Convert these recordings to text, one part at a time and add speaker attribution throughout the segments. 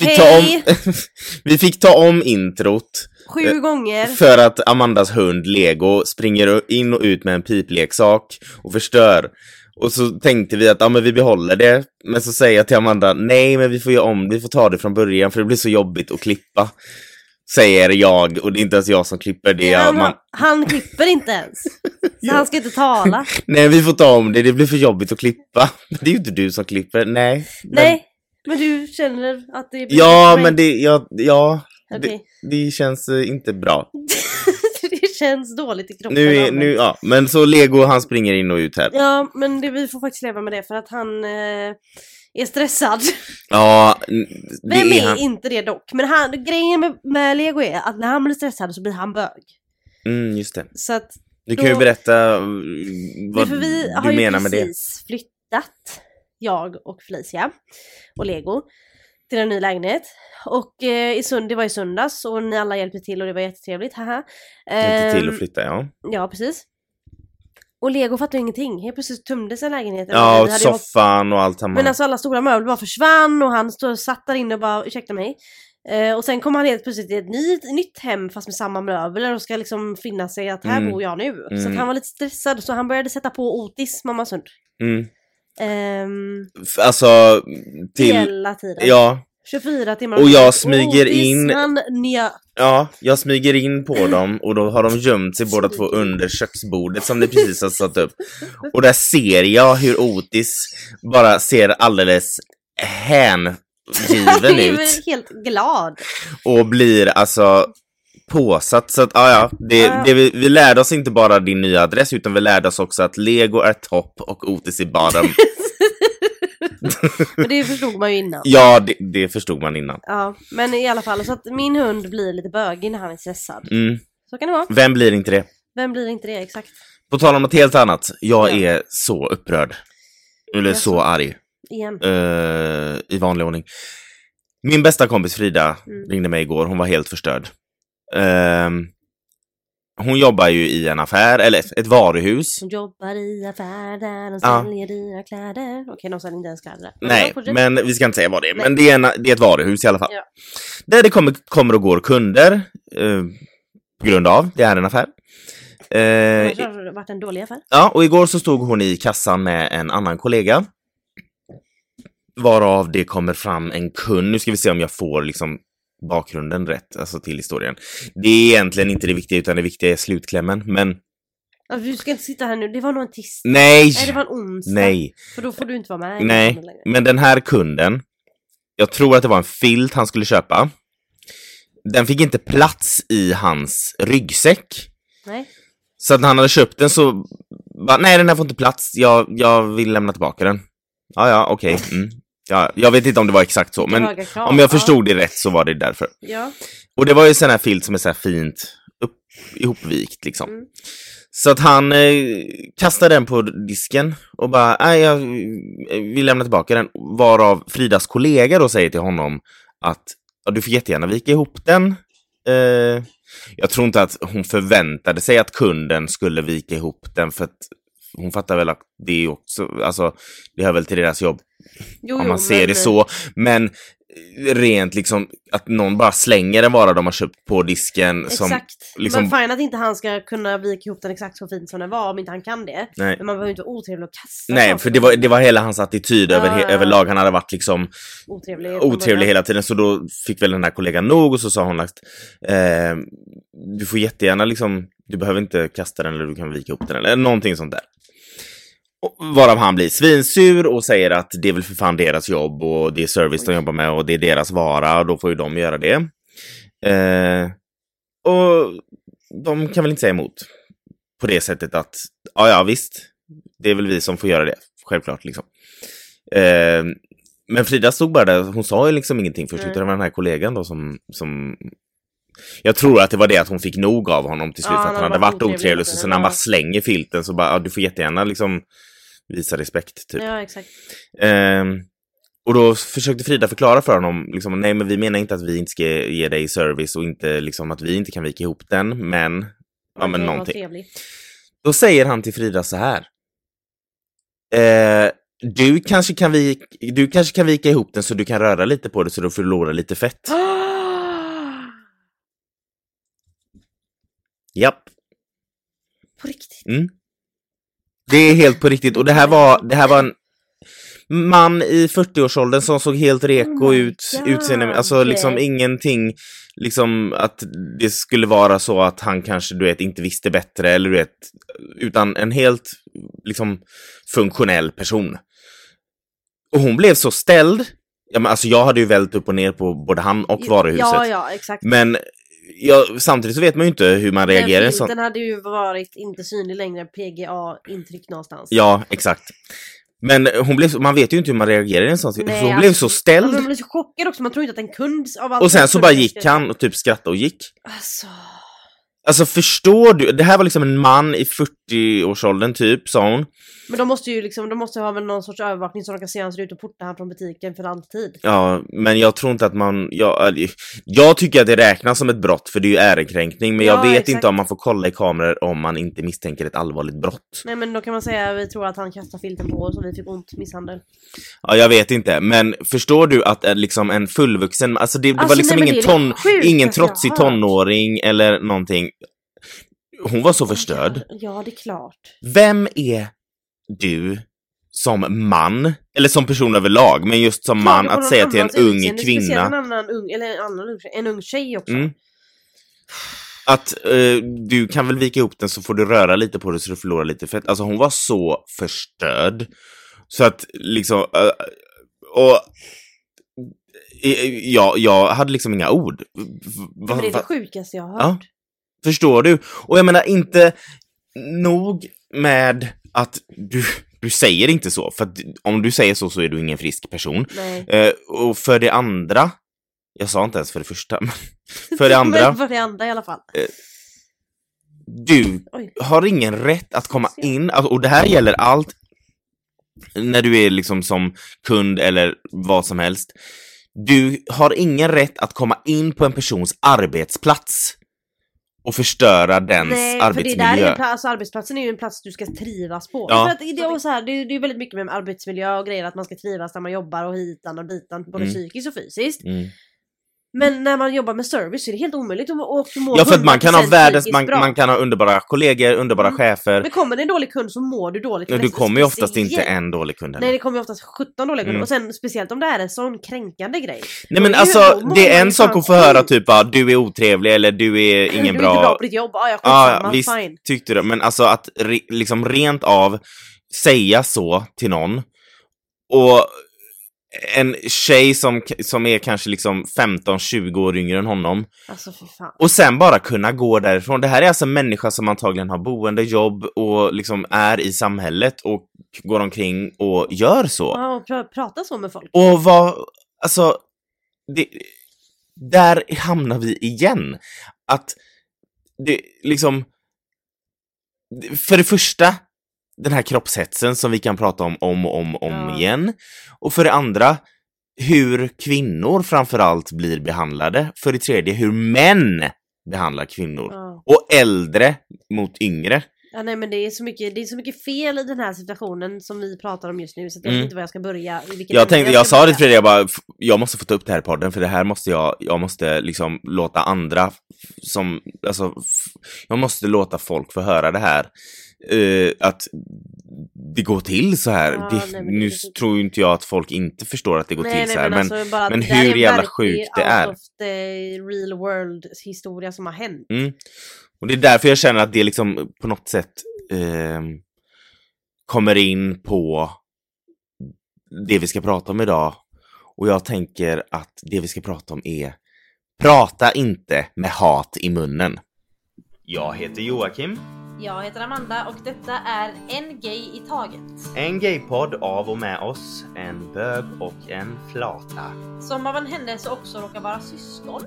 Speaker 1: fick ta
Speaker 2: Hej!
Speaker 1: om, vi fick ta om introt
Speaker 2: Sju gånger.
Speaker 1: Eh, för att Amandas hund Lego springer in och ut med en pipleksak och förstör. Och så tänkte vi att ja, men vi behåller det, men så säger jag till Amanda nej, men vi får göra om det, vi får ta det från början för det blir så jobbigt att klippa. Säger jag, och det är inte ens jag som klipper det. är
Speaker 2: han,
Speaker 1: Amanda.
Speaker 2: han klipper inte ens. Så han ska inte tala.
Speaker 1: Nej, vi får ta om det, det blir för jobbigt att klippa. Men det är ju inte du som klipper, nej. men-
Speaker 2: Nej, men du känner att det blir
Speaker 1: Ja,
Speaker 2: för mig.
Speaker 1: men det, ja, ja
Speaker 2: Okej.
Speaker 1: det, det känns eh, inte bra.
Speaker 2: det känns dåligt i kroppen.
Speaker 1: Nu är,
Speaker 2: Anna.
Speaker 1: nu, ja, men så Lego han springer in och ut här.
Speaker 2: Ja, men det, vi får faktiskt leva med det för att han eh, är stressad.
Speaker 1: Ja, n- det
Speaker 2: Vem
Speaker 1: är
Speaker 2: är,
Speaker 1: han.
Speaker 2: inte det dock? Men han, grejen med, med Lego är att när han blir stressad så blir han bög.
Speaker 1: Mm, just det.
Speaker 2: Så att,
Speaker 1: Du kan ju
Speaker 2: Då-
Speaker 1: berätta eh, vad
Speaker 2: Nej, för vi har
Speaker 1: du
Speaker 2: ju
Speaker 1: menar med det.
Speaker 2: precis flyttat, jag och Felicia och Lego, till en ny lägenhet. Och eh, i sund, det var i söndags och ni alla hjälpte till och det var jättetrevligt, haha.
Speaker 1: Hjälpte till
Speaker 2: Ehm,
Speaker 1: att flytta, ja.
Speaker 2: Ja, precis. Och Lego fattade ju ingenting, helt plötsligt tömdes en lägenhet.
Speaker 1: Ja,
Speaker 2: Vi
Speaker 1: och
Speaker 2: hade ju hopp-
Speaker 1: soffan och allt samman.
Speaker 2: Men alltså alla stora möbler bara försvann och han stod, satt där inne och bara ursäkta mig. Eh, och sen kom han helt plötsligt till ett nytt, nytt hem fast med samma möbler och ska liksom finna sig att här
Speaker 1: Mm.
Speaker 2: bor jag nu. Så att
Speaker 1: Mm.
Speaker 2: han var lite stressad så han började sätta på Otis, mamma Sund.
Speaker 1: mm.
Speaker 2: Ehm,
Speaker 1: F- alltså, till...
Speaker 2: Hela tiden.
Speaker 1: Ja,
Speaker 2: 24 timmar
Speaker 1: Och jag
Speaker 2: om dagen.
Speaker 1: smyger
Speaker 2: Otis,
Speaker 1: in-
Speaker 2: Han njöt.
Speaker 1: ja, jag smyger in på dem och då har de gömt sig båda två under köksbordet som ni precis har satt upp. Och där ser jag hur Otis bara ser alldeles
Speaker 2: Han
Speaker 1: hängiven
Speaker 2: är
Speaker 1: ut.
Speaker 2: väl helt glad.
Speaker 1: och blir alltså påsatt. Så att, ah, ja, det,
Speaker 2: Ja.
Speaker 1: det, vi, vi lärde oss inte bara din nya adress, utan vi lärde oss också att Lego är topp och Otis är bottom.
Speaker 2: Men det förstod man ju innan.
Speaker 1: ja, det, det förstod man innan.
Speaker 2: Ja, men i alla fall så att min hund blir lite bögig när han är stressad.
Speaker 1: Mm.
Speaker 2: Så kan det vara.
Speaker 1: Vem blir inte det?
Speaker 2: Vem blir inte det exakt?
Speaker 1: På tal om något helt annat, jag
Speaker 2: Ja.
Speaker 1: är så upprörd. Eller
Speaker 2: Jaså?
Speaker 1: så arg,
Speaker 2: Igen.
Speaker 1: eh, i vanlig ordning. Min bästa kompis Frida
Speaker 2: Mm.
Speaker 1: ringde mig igår, hon var helt förstörd. Ehm, hon jobbar ju i en affär, eller ett varuhus.
Speaker 2: Som jobbar i affären och
Speaker 1: Ja.
Speaker 2: säljer dina kläder. Okej, de säljer inte ens kläder.
Speaker 1: Nej,
Speaker 2: Ja, fortsätt.
Speaker 1: men vi ska inte säga vad det är.
Speaker 2: Nej.
Speaker 1: Men det är, en, det är ett varuhus i alla fall.
Speaker 2: Ja.
Speaker 1: Där det kommer, kommer och går kunder. Eh, på grund av, det är en affär. Eh,
Speaker 2: Annars har det varit en dålig affär.
Speaker 1: ja, och igår så stod hon i kassan med en annan kollega. Varav det kommer fram en kund. Nu ska vi se om jag får liksom bakgrunden rätt, alltså till historien. Det är egentligen inte det viktiga, utan det viktiga är slutklämmen. Men
Speaker 2: Alltså, du ska inte sitta här nu, det var nog en tisdag.
Speaker 1: nej!
Speaker 2: Nej, det var en onsdag.
Speaker 1: Nej!
Speaker 2: För då får du inte vara med. i
Speaker 1: Nej,
Speaker 2: podden längre.
Speaker 1: men den här kunden, jag tror att det var en filt han skulle köpa. Den fick inte plats i hans ryggsäck.
Speaker 2: Nej.
Speaker 1: Så att när han hade köpt den så, bara, nej den här får inte plats, jag, jag vill lämna tillbaka den. Ja, ja, okej. Mm. Ja, jag vet inte om det var exakt så, men
Speaker 2: Höga krav.
Speaker 1: om jag förstod det rätt så var det därför.
Speaker 2: Ja.
Speaker 1: Och det var ju sån här filt som är så här fint upp, ihopvikt liksom.
Speaker 2: Mm.
Speaker 1: Så att han eh, kastade den på disken och bara, nej jag eh, vill lämna tillbaka den. Varav Fridas kollega då säger till honom att ja, du får jättegärna vika ihop den. Eh, jag tror inte att hon förväntade sig att kunden skulle vika ihop den för att hon fattar väl att det är också, alltså det hör väl till deras jobb
Speaker 2: Jo,
Speaker 1: om
Speaker 2: jo,
Speaker 1: man ser
Speaker 2: men-
Speaker 1: det så. Men rent liksom att någon bara slänger en vara de har köpt på disken som...
Speaker 2: Exakt.
Speaker 1: liksom-
Speaker 2: Men fine att inte han ska kunna vika ihop den exakt så fint som den var om inte han kan det.
Speaker 1: Nej.
Speaker 2: Men man behöver inte vara otrevlig och kasta
Speaker 1: Nej,
Speaker 2: saker
Speaker 1: för det var, det var hela hans attityd över,
Speaker 2: Ja, ja,
Speaker 1: he-
Speaker 2: ja.
Speaker 1: överlag. Han hade varit liksom
Speaker 2: otrevlig. från
Speaker 1: otrevlig
Speaker 2: början.
Speaker 1: hela tiden, så då fick väl den här kollegan nog och så sa hon att eh, du får jättegärna liksom, du behöver inte kasta den eller du kan vika ihop den eller någonting sånt där. Och, varav han blir svinsur och säger att det är väl för fan deras jobb och det är service de jobbar med och det är deras vara och då får ju de göra det. Eh, och de kan väl inte säga emot på det sättet att ja, ja visst, det är väl vi som får göra det, självklart liksom. Eh, men Frida stod bara där, hon sa ju liksom ingenting först,
Speaker 2: Nej.
Speaker 1: utan det var den här kollegan då som, som... Jag tror att det var det att hon fick nog av honom till slut,
Speaker 2: Ja,
Speaker 1: för att han hade varit otrevlig, så,
Speaker 2: lite,
Speaker 1: så när han
Speaker 2: ja.
Speaker 1: bara slänger filten så bara, ja, du får jättegärna liksom visa respekt, typ.
Speaker 2: Ja, exakt.
Speaker 1: Ehm, och då försökte Frida förklara för honom, liksom, nej men vi menar inte att vi inte ska ge dig service och inte liksom att vi inte kan vika ihop den, men... Ja,
Speaker 2: Man
Speaker 1: men
Speaker 2: kan vara
Speaker 1: någonting.
Speaker 2: Trevlig.
Speaker 1: Då säger han till Frida så här. Eh, Du kanske, kan vi, du kanske kan vika ihop den så du kan röra lite på det så du förlorar lite fett.
Speaker 2: Ah.
Speaker 1: Japp.
Speaker 2: På riktigt.
Speaker 1: Mm. Det är helt på riktigt och det här var, det här var en man i 40-årsåldern som såg helt reko
Speaker 2: Oh my
Speaker 1: ut, utseende, alltså
Speaker 2: God.
Speaker 1: liksom ingenting, liksom att det skulle vara så att han kanske du vet inte visste bättre eller du vet, utan en helt liksom funktionell person. Och hon blev så ställd, ja men alltså jag hade ju vält upp och ner på både han och varuhuset.
Speaker 2: Ja, ja, exakt.
Speaker 1: Men jag, samtidigt så vet man ju inte hur man reagerar i en sån
Speaker 2: Den hade ju varit inte synlig längre, PGA-intryck någonstans.
Speaker 1: Ja, exakt. Men eh, hon blev, så- man vet ju inte hur man reagerar i en sån situation.
Speaker 2: Nej,
Speaker 1: Hon
Speaker 2: alltså-
Speaker 1: blev så
Speaker 2: Ja, men
Speaker 1: ställd
Speaker 2: Man blev så chockad också, man tror inte att en kund av allt
Speaker 1: och sen så
Speaker 2: kunde
Speaker 1: bara gick
Speaker 2: skriva.
Speaker 1: han och typ skrattade och gick.
Speaker 2: Alltså,
Speaker 1: Alltså förstår du? Det här var liksom en man i 40-årsåldern typ, sa hon.
Speaker 2: men de måste ju liksom, de måste ha väl någon sorts övervakning så de kan se hur han ser ut och porta han från butiken för alltid.
Speaker 1: Ja, men jag tror inte att man... Jag, eller, jag tycker att det räknas som ett brott för det är ju ärekränkning, men jag
Speaker 2: Ja,
Speaker 1: vet
Speaker 2: exakt.
Speaker 1: inte om man får kolla i kameror om man inte misstänker ett allvarligt brott.
Speaker 2: Nej men då kan man säga vi tror att han kastar filten på oss och vi fick ont, misshandel.
Speaker 1: Ja, jag vet inte, men förstår du att eh, liksom en fullvuxen, alltså det, det
Speaker 2: Alltså,
Speaker 1: var liksom
Speaker 2: nej, men
Speaker 1: ingen,
Speaker 2: det är det
Speaker 1: ton,
Speaker 2: sjukaste
Speaker 1: ingen
Speaker 2: jag
Speaker 1: trotsig
Speaker 2: hört.
Speaker 1: tonåring eller någonting. Hon var
Speaker 2: Alltså.
Speaker 1: så förstörd.
Speaker 2: Ja det är klart.
Speaker 1: Vem är du som man, eller som person överlag, men just som man,
Speaker 2: Klart, och
Speaker 1: att
Speaker 2: någon
Speaker 1: säga till en
Speaker 2: annans
Speaker 1: ung
Speaker 2: utseende, Speciellt en
Speaker 1: kvinna
Speaker 2: annan ung, eller en annan ung tjej, en ung tjej också.
Speaker 1: Mm. att eh, du kan väl vika ihop den så får du röra lite på det så du förlorar lite fett. Alltså hon var så förstörd. Så att liksom, eh, och eh, ja, jag hade liksom inga ord. Va,
Speaker 2: Men det är
Speaker 1: va-
Speaker 2: det sjukaste jag har
Speaker 1: Ja.
Speaker 2: hört.
Speaker 1: Förstår du? Och jag menar inte nog med att du, du säger inte så, för att om du säger så så är du ingen frisk person.
Speaker 2: Nej.
Speaker 1: Eh, och för det andra, jag sa inte ens för det första, men för det andra,
Speaker 2: Men för det andra i alla fall.
Speaker 1: du
Speaker 2: Oj.
Speaker 1: har ingen rätt att komma in, alltså, och det här gäller allt när du är liksom som kund eller vad som helst. Du har ingen rätt att komma in på en persons arbetsplats och förstöra dens
Speaker 2: Nej, för det
Speaker 1: arbetsmiljö. Mm.
Speaker 2: där är ju en plats, alltså, arbetsplatsen är ju en plats du ska trivas på.
Speaker 1: Ja.
Speaker 2: För att det, är ju så här, det, är- det är ju väldigt mycket med arbetsmiljö och grejer att man ska trivas där man jobbar och hitan och ditan, både
Speaker 1: Mm.
Speaker 2: psykiskt och fysiskt.
Speaker 1: Mm.
Speaker 2: Men när man jobbar med service så är det helt omöjligt att och du mår
Speaker 1: Ja, för att man kan ha
Speaker 2: 100%
Speaker 1: världens,
Speaker 2: psykiskt
Speaker 1: man,
Speaker 2: bra.
Speaker 1: man kan ha underbara kollegor, underbara
Speaker 2: Mm.
Speaker 1: chefer.
Speaker 2: Men kommer det en dålig kund så mår du dåligt. för
Speaker 1: Du
Speaker 2: nästa
Speaker 1: kommer ju oftast
Speaker 2: speciellt.
Speaker 1: inte en dålig kund heller.
Speaker 2: Nej det kommer ju oftast 17 dåliga kunder
Speaker 1: Mm.
Speaker 2: och sen speciellt om det är en sån kränkande grej.
Speaker 1: Nej
Speaker 2: Då
Speaker 1: men
Speaker 2: är det ju
Speaker 1: alltså,
Speaker 2: ändå
Speaker 1: det är en
Speaker 2: många
Speaker 1: sak
Speaker 2: som-
Speaker 1: att få höra typ bara, du är otrevlig eller du är
Speaker 2: du är
Speaker 1: ingen
Speaker 2: inte bra
Speaker 1: bra.
Speaker 2: på ditt jobb, ah, ja
Speaker 1: Ja,
Speaker 2: skitsamma,
Speaker 1: visst
Speaker 2: fine.
Speaker 1: tyckte du. Men alltså att re, liksom rent av säga så till någon och en tjej som, k- som är kanske liksom 15-20 år yngre än honom
Speaker 2: Alltså fy fan.
Speaker 1: och sen bara kunna gå därifrån. Det här är alltså en människa som antagligen har boende, jobb och liksom är i samhället och går omkring och gör så.
Speaker 2: Ja, och pr- prata så med folk.
Speaker 1: Och vad, alltså, det, där hamnar vi igen. Att det liksom, för det första, den här kroppshetsen som vi kan prata om om och om, om
Speaker 2: Ja.
Speaker 1: igen. Och för det andra, hur kvinnor framförallt blir behandlade. För det tredje, hur män behandlar kvinnor.
Speaker 2: Ja.
Speaker 1: Och äldre mot yngre.
Speaker 2: Ja, nej, men det, är så mycket, det är så mycket fel i den här situationen som vi pratar om just nu så att jag
Speaker 1: Mm.
Speaker 2: vet inte var jag ska börja. i vilken
Speaker 1: Jag
Speaker 2: ände
Speaker 1: tänkte,
Speaker 2: ska
Speaker 1: jag sa det
Speaker 2: börja.
Speaker 1: till Fredrik, jag bara, "F- jag måste få ta upp det här i podden för det här måste jag, jag måste liksom låta andra f- som, alltså, f- jag måste låta folk få höra det här. Eh, att det går till så här.
Speaker 2: Ja,
Speaker 1: det,
Speaker 2: nej, men det
Speaker 1: nu
Speaker 2: är så-
Speaker 1: tror ju inte jag att folk inte förstår att det går
Speaker 2: Nej,
Speaker 1: till
Speaker 2: nej,
Speaker 1: så här, men,
Speaker 2: alltså, bara att
Speaker 1: men
Speaker 2: det där är
Speaker 1: hur
Speaker 2: en
Speaker 1: jävla
Speaker 2: verklig
Speaker 1: sjukt det är.
Speaker 2: out of the real world historia som har hänt.
Speaker 1: mm. Och det är därför jag känner att det liksom på något sätt ehm, kommer in på det vi ska prata om idag. Och jag tänker att det vi ska prata om är Prata inte med hat i munnen. Jag heter Joakim.
Speaker 2: Jag heter Amanda och detta är En Gay i Taget.
Speaker 1: En gaypodd av och med oss, en bög och en flata.
Speaker 2: Som av en händelse också råkar vara syskon.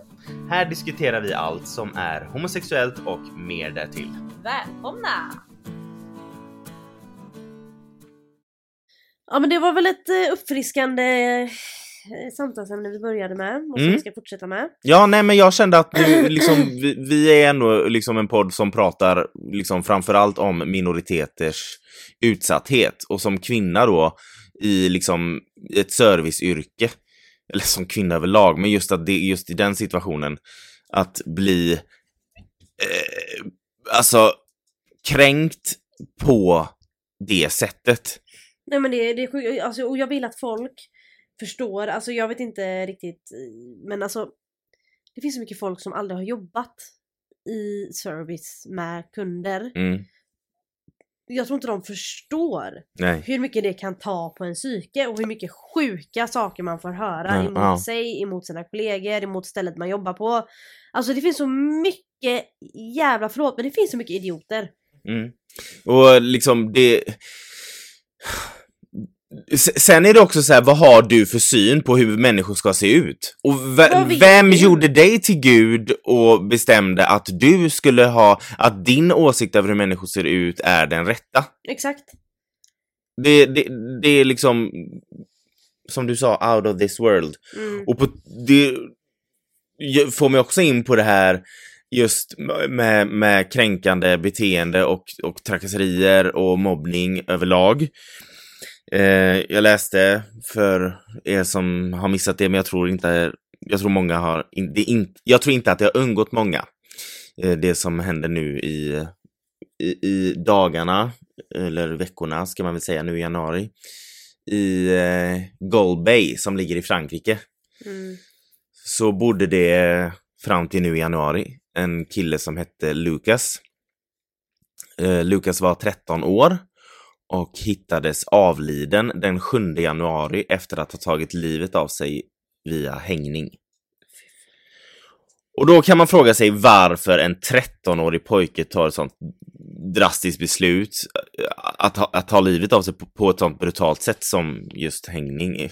Speaker 1: Här diskuterar vi allt som är homosexuellt och mer därtill.
Speaker 2: Välkomna! Ja men det var väl ett eh, uppfriskande eh, samtalsämne vi började med och som
Speaker 1: Mm.
Speaker 2: vi ska fortsätta med.
Speaker 1: Ja, nej, men jag kände att nu, liksom, vi, vi är ändå liksom en podd som pratar liksom, framförallt om minoriteters utsatthet och som kvinna då i liksom ett serviceyrke, eller som kvinna överlag, men just att det just i den situationen, att bli eh, alltså kränkt på det sättet.
Speaker 2: Nej men det, det är sjukt. Alltså, och jag vill att folk förstår, alltså jag vet inte riktigt, eh, men alltså det finns så mycket folk som aldrig har jobbat i service med kunder.
Speaker 1: Mm.
Speaker 2: Jag tror inte de förstår
Speaker 1: Nej.
Speaker 2: hur mycket det kan ta på en psyke och hur mycket sjuka saker man får höra
Speaker 1: Ja,
Speaker 2: emot
Speaker 1: ja.
Speaker 2: sig, emot sina kollegor, emot stället man jobbar på. Alltså det finns så mycket jävla, förlåt men det finns så mycket idioter.
Speaker 1: Mm. Och liksom det... S- Sen är det också så här, vad har du för syn på hur människor ska se ut? Och
Speaker 2: Vad
Speaker 1: ve-
Speaker 2: vet
Speaker 1: vem
Speaker 2: du?
Speaker 1: gjorde dig till gud och bestämde att du skulle ha, att din åsikt över hur människor ser ut är den rätta?
Speaker 2: Exakt.
Speaker 1: Det, det, det är liksom, som du sa, out of this world.
Speaker 2: Mm.
Speaker 1: Och på, det ju- får mig också in på det här just med, med kränkande beteende och, och trakasserier och mobbning överlag. Eh, jag läste, för er som har missat det, men jag tror inte, jag tror många har, in, det är in, jag tror inte att det har undgått många, eh, det som händer nu i, i, i dagarna, eller veckorna ska man väl säga nu i januari, i eh, Gold Bay som ligger i Frankrike
Speaker 2: Mm.
Speaker 1: så bodde det fram till nu i januari en kille som hette Lukas. Eh, Lukas var 13 år och hittades avliden den 7 januari efter att ha tagit livet av sig via hängning. Och då kan man fråga sig varför en 13-årig pojke tar ett sånt drastiskt beslut eh, att, ha- att ta livet av sig på, på ett sånt brutalt sätt som just hängning är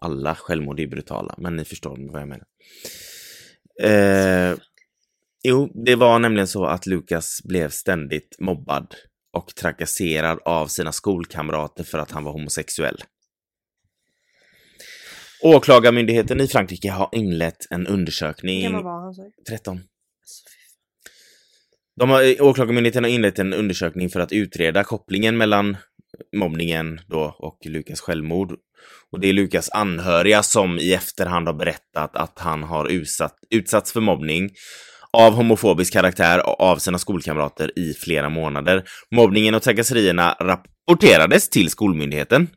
Speaker 1: alla självmord är brutala, men ni förstår vad jag menar. Eh, jo, det var nämligen så att Lukas blev ständigt mobbad och trakasserad av sina skolkamrater för att han var homosexuell. Åklagarmyndigheten i Frankrike har inlett en
Speaker 2: Hur
Speaker 1: undersökning...
Speaker 2: gammal var han sa du?
Speaker 1: 13. De har, eh, åklagarmyndigheten har inlett en undersökning för att utreda kopplingen mellan mobbningen då och Lukas självmord. Och det är Lukas anhöriga som i efterhand har berättat att han har utsatt, utsatts för mobbning av homofobisk karaktär och av sina skolkamrater i flera månader. Mobbningen och trakasserierna rapporterades till skolmyndigheten.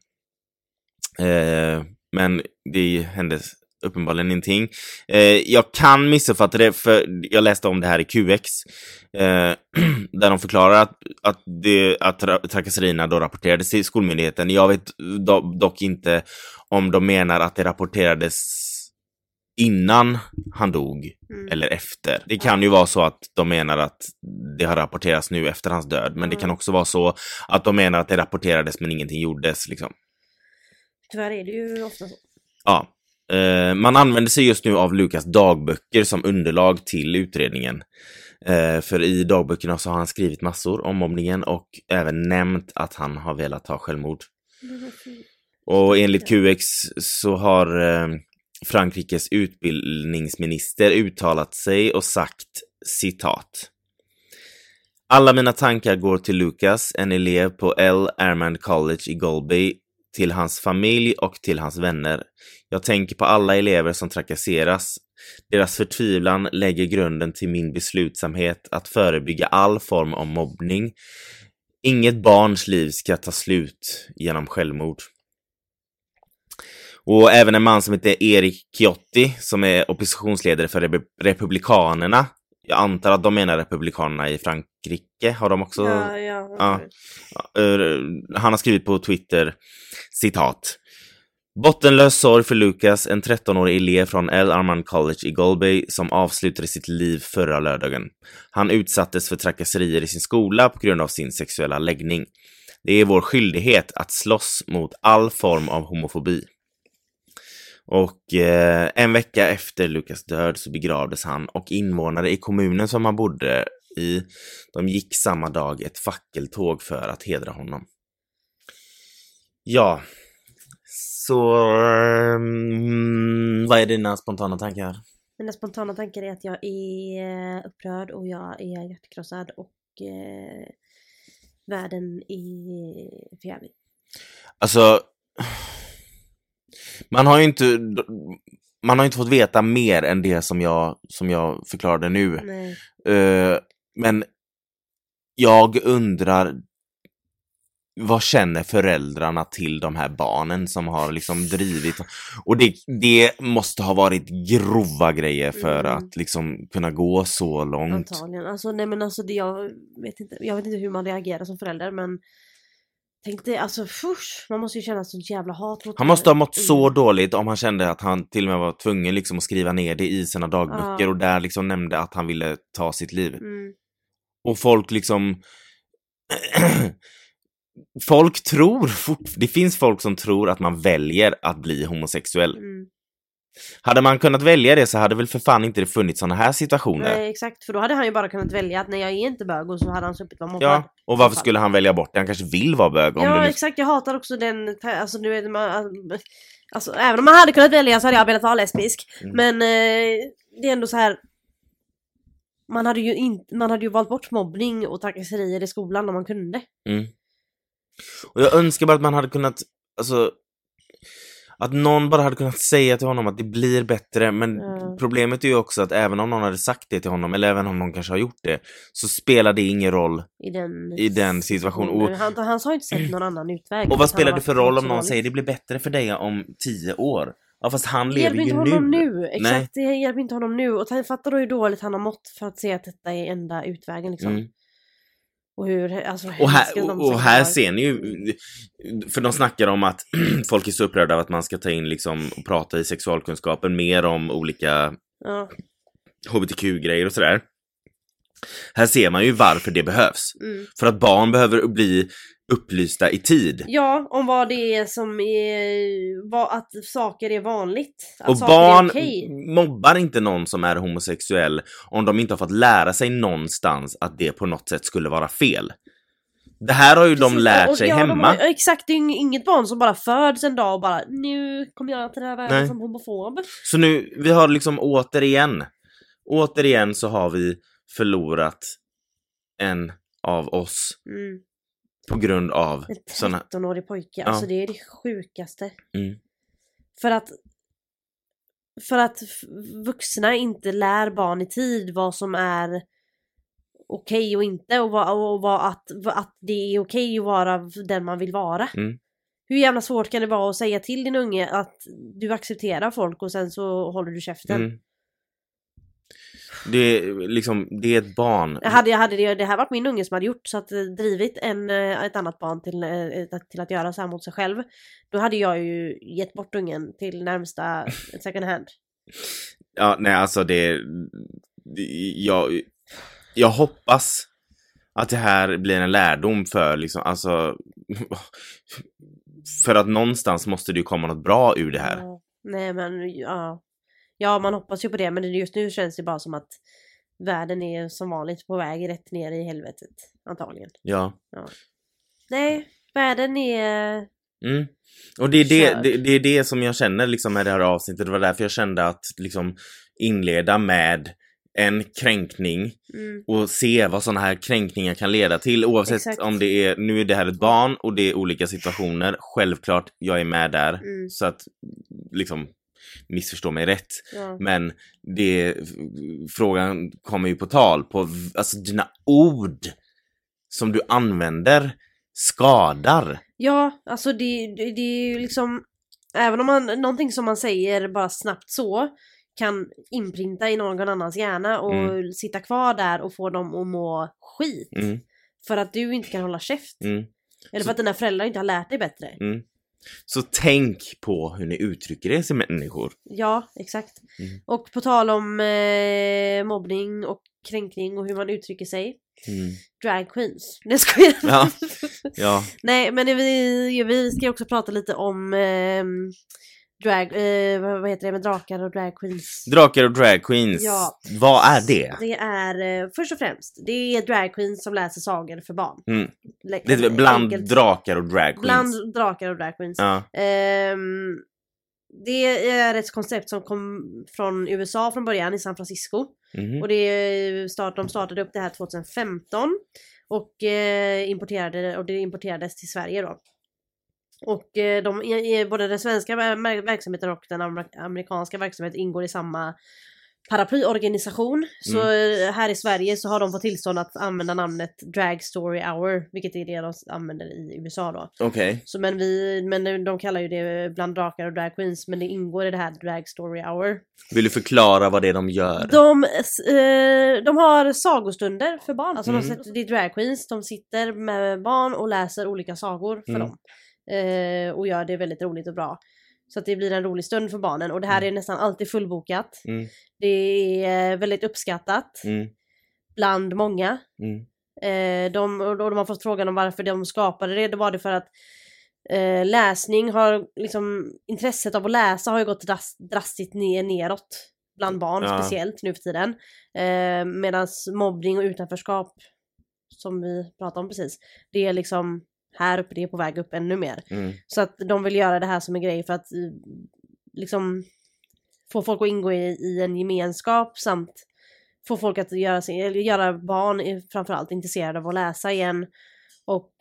Speaker 1: Eh, men det hände uppenbarligen ingenting. Eh, jag kan missuppfatta det, för jag läste om det här i QX. Eh, där de förklarar att, att, det, att tra- trakasserierna då rapporterades till skolmyndigheten. Jag vet do- dock inte om de menar att det rapporterades innan han dog
Speaker 2: Mm.
Speaker 1: eller efter. Det kan ju vara så att de menar att det har rapporterats nu efter hans död, men det kan också vara så att de menar att det rapporterades men ingenting gjordes liksom.
Speaker 2: Tyvärr är det ju ofta så.
Speaker 1: Ja. Eh, man använder sig just nu av Lukas dagböcker som underlag till utredningen. Eh, för i dagböckerna så har han skrivit massor om mobbningen och även nämnt att han har velat ta självmord. Och enligt QX så har eh, Frankrikes utbildningsminister uttalat sig och sagt citat. Alla mina tankar går till Lukas, en elev på L. Armand College i Golby, till hans familj och till hans vänner. Jag tänker på alla elever som trakasseras. Deras förtvivlan lägger grunden till min beslutsamhet att förebygga all form av mobbning. Inget barns liv ska ta slut genom självmord. Och även en man som heter Erik Ciotti som är oppositionsledare för Rep- Republikanerna. Jag antar att de menar Republikanerna i Frankrike, har de också
Speaker 2: Ja, ja.
Speaker 1: Ja. Eh, han har skrivit på Twitter, citat. Bottenlös sorg för Lukas, en 13-årig elev från El Armand College i Golby som avslutade sitt liv förra lördagen. Han utsattes för trakasserier i sin skola på grund av sin sexuella läggning. Det är vår skyldighet att slåss mot all form av homofobi. Och eh, en vecka efter Lukas död så begravdes han och invånare i kommunen som han bodde i de gick samma dag ett fackeltåg för att hedra honom. Ja, så mm, vad är dina spontana tankar?
Speaker 2: Mina spontana tankar är att jag är upprörd och jag är hjärtkrossad och eh, världen är för jävlig.
Speaker 1: Alltså, Man har ju inte, man har inte fått veta mer än det som jag, som jag förklarade nu.
Speaker 2: Nej.
Speaker 1: Eh, men jag undrar, vad känner föräldrarna till de här barnen som har liksom drivit? Och det, det måste ha varit grova grejer för
Speaker 2: Mm.
Speaker 1: att liksom kunna gå så långt.
Speaker 2: Antagligen. Alltså, nej men alltså det, jag, vet inte, jag vet inte hur man reagerar som förälder men Tänk dig, alltså fush, man måste ju känna sånt jävla hat mot
Speaker 1: Han
Speaker 2: den här
Speaker 1: måste ha mått så
Speaker 2: ungen.
Speaker 1: dåligt om han kände att han till och med var tvungen liksom att skriva ner det i sina dagböcker
Speaker 2: Ja.
Speaker 1: och där liksom nämnde att han ville ta sitt liv.
Speaker 2: Mm.
Speaker 1: Och folk liksom... folk tror fort... Det finns folk som tror att man väljer att bli homosexuell.
Speaker 2: Mm.
Speaker 1: Hade man kunnat välja det så hade väl för fan inte det funnits såna här situationer.
Speaker 2: Nej exakt, för då hade han ju bara kunnat välja att nej jag är inte bög och så hade han sluppit vara mobbad.
Speaker 1: Ja, och varför skulle han välja bort det? Han kanske vill vara bög om
Speaker 2: Ja
Speaker 1: det nu...
Speaker 2: exakt, jag hatar också den, ta- alltså du vet man, alltså även om man hade kunnat välja så hade jag velat vara lesbisk.
Speaker 1: Mm.
Speaker 2: Men eh, det är ändå så här. Man hade, ju in, man hade ju valt bort mobbning och trakasserier i skolan om man kunde.
Speaker 1: Mm. Och jag önskar bara att man hade kunnat, alltså... Att någon bara hade kunnat säga till honom att det blir bättre, men
Speaker 2: Ja.
Speaker 1: problemet är ju också att även om någon hade sagt det till honom, eller även om någon kanske har gjort det, så spelar det ingen roll
Speaker 2: I den,
Speaker 1: i den situationen. Och
Speaker 2: Han, han sa ju inte sett någon annan utväg.
Speaker 1: Och vad spelar det för roll om
Speaker 2: Så
Speaker 1: någon
Speaker 2: dåligt.
Speaker 1: säger det blir bättre för dig om tio år? Ja fast han
Speaker 2: Det
Speaker 1: lever
Speaker 2: hjälper
Speaker 1: ju
Speaker 2: inte
Speaker 1: nu.
Speaker 2: honom nu. Exakt, det hjälper inte honom nu. Och ta- fattar du hur dåligt han har mått för att se att detta är enda utvägen liksom.
Speaker 1: Mm.
Speaker 2: Och hur, alltså, hur
Speaker 1: Och,
Speaker 2: ska
Speaker 1: här,
Speaker 2: de
Speaker 1: och, och här
Speaker 2: säkert
Speaker 1: ser ni ju, för de snackar om att folk är så upprörda av att man ska ta in liksom och prata i sexualkunskapen mer om olika
Speaker 2: vara-
Speaker 1: hbtq-grejer och sådär. Här ser man ju varför det behövs.
Speaker 2: Ja, mm.
Speaker 1: För att barn behöver bli upplysta i tid.
Speaker 2: ja, om vad det är som är, vad, att saker är vanligt. Att
Speaker 1: Och
Speaker 2: saker
Speaker 1: barn
Speaker 2: Alltså, är okej.
Speaker 1: mobbar inte någon som är homosexuell om de inte har fått lära sig någonstans att det på något sätt skulle vara fel. Det här har ju de
Speaker 2: Precis, och-
Speaker 1: lärt
Speaker 2: och
Speaker 1: sig
Speaker 2: ja, de
Speaker 1: hemma.
Speaker 2: har- ja, exakt, det är ju inget barn som bara föds en dag och bara nu kommer jag till den här världen
Speaker 1: Nej.
Speaker 2: som homofob.
Speaker 1: Så nu, vi har liksom återigen, återigen så har vi förlorat en av oss
Speaker 2: Mm.
Speaker 1: på grund av
Speaker 2: En
Speaker 1: såna...
Speaker 2: 13-årig pojke, alltså det är det sjukaste.
Speaker 1: Mm.
Speaker 2: För att för att f- vuxna inte lär barn i tid vad som är okej och inte och, vad, och vad, att, vad- att det är okej att vara den man vill vara.
Speaker 1: Mm.
Speaker 2: Hur jävla svårt kan det vara att säga till din unge att du accepterar folk och sen så håller du käften?
Speaker 1: Mm. Det är liksom, det är ett barn.
Speaker 2: Jag hade, jag hade det, det här varit min unge som hade gjort så att eh, drivit en, eh, ett annat barn till, eh, till att göra så här mot sig själv. Då hade jag ju gett bort ungen till närmsta second hand.
Speaker 1: Ja, nej alltså det... det- Jag, jag hoppas att det här blir en lärdom för liksom, alltså... För att någonstans måste det ju komma något bra ur det här.
Speaker 2: Ja. Nej men ja. Ja man hoppas ju på det men det- just nu känns det bara som att världen är som vanligt på väg rätt ner i helvetet. Antagligen.
Speaker 1: Ja.
Speaker 2: Nej, världen är...
Speaker 1: Mm. Och det är det,
Speaker 2: Kör.
Speaker 1: det, det är det som jag känner liksom med det här avsnittet. Det var därför jag kände att liksom inleda med en kränkning
Speaker 2: Mm,
Speaker 1: och se vad sådana här kränkningar kan leda till oavsett
Speaker 2: Exakt.
Speaker 1: om det är, nu är det här ett barn och det är olika situationer. Självklart, jag är med där.
Speaker 2: mm,
Speaker 1: Så att liksom missförstå mig rätt.
Speaker 2: ja.
Speaker 1: Men det, frågan kommer ju på tal på, v- alltså dina ord som du använder skadar.
Speaker 2: ja, alltså det, det, det är ju liksom... Även om man, någonting som man säger bara snabbt så kan inprinta i någon annans hjärna och
Speaker 1: Mm.
Speaker 2: sitta kvar där och få dem att må skit.
Speaker 1: Mm,
Speaker 2: För att du inte kan hålla käft.
Speaker 1: mm,
Speaker 2: Eller
Speaker 1: Så-
Speaker 2: för att dina föräldrar inte har lärt dig bättre.
Speaker 1: mm. Så tänk på hur ni uttrycker er som människor.
Speaker 2: Ja, exakt.
Speaker 1: Mm.
Speaker 2: Och på tal om eh, mobbning och kränkning och hur man uttrycker sig.
Speaker 1: Mm.
Speaker 2: Drag queens. Nej, jag skojar.
Speaker 1: Ja. Ja,
Speaker 2: Nej, men vi, vi ska ju också prata lite om eh, drag, eh, vad vad heter det med drakar och drag queens.
Speaker 1: drakar och drag queens.
Speaker 2: Ja.
Speaker 1: Vad är det?
Speaker 2: Det är eh, först och främst, det är drag queens som läser sagor för barn.
Speaker 1: Mm.
Speaker 2: Le-
Speaker 1: Det är bland
Speaker 2: enkelt.
Speaker 1: drakar och drag queens.
Speaker 2: Bland drakar och drag queens.
Speaker 1: Ja.
Speaker 2: Ehm, det är ett koncept som kom från USA från början i San Francisco.
Speaker 1: mhm.
Speaker 2: Och det start, de startade upp det här 2015 och eh, importerade och det importerades till Sverige då. Och eh, de, i- i både den svenska ver- verksamheten och den amer- amerikanska verksamheten ingår i samma paraplyorganisation. Så eh, här i Sverige så har de fått tillstånd att använda namnet Drag Story Hour, vilket är det de använder i USA då.
Speaker 1: Okej.
Speaker 2: Så men, vi, men de kallar ju det bland drakar och drag queens, men det ingår i det här Drag Story Hour.
Speaker 1: Vill du förklara vad det är de gör?
Speaker 2: De, eh, de har sagostunder för barn. Alltså de
Speaker 1: Mm.
Speaker 2: sätter, det är drag queens, de sitter med barn och läser olika sagor för
Speaker 1: Mm.
Speaker 2: dem. Eh, och gör det väldigt roligt och bra. Så att det blir en rolig stund för barnen. Och det här
Speaker 1: Mm.
Speaker 2: är nästan alltid fullbokat.
Speaker 1: Mm.
Speaker 2: Det är eh, väldigt uppskattat
Speaker 1: Mm.
Speaker 2: bland många.
Speaker 1: Mm.
Speaker 2: Eh, de, och de har fått frågan om varför de skapade det. Det var det för att eh, läsning har, liksom intresset av att läsa har ju gått dras, drastiskt ner, neråt. Bland barn
Speaker 1: Ja.
Speaker 2: speciellt nu för tiden. Eh, Medan mobbning och utanförskap, som vi pratade om precis, det är liksom här uppe, det är på väg upp ännu mer.
Speaker 1: Mm.
Speaker 2: Så att de vill göra det här som en grej för att eh, liksom få folk att ingå i, i en gemenskap samt få folk att göra, sig, eller göra barn är framförallt intresserade av att läsa igen och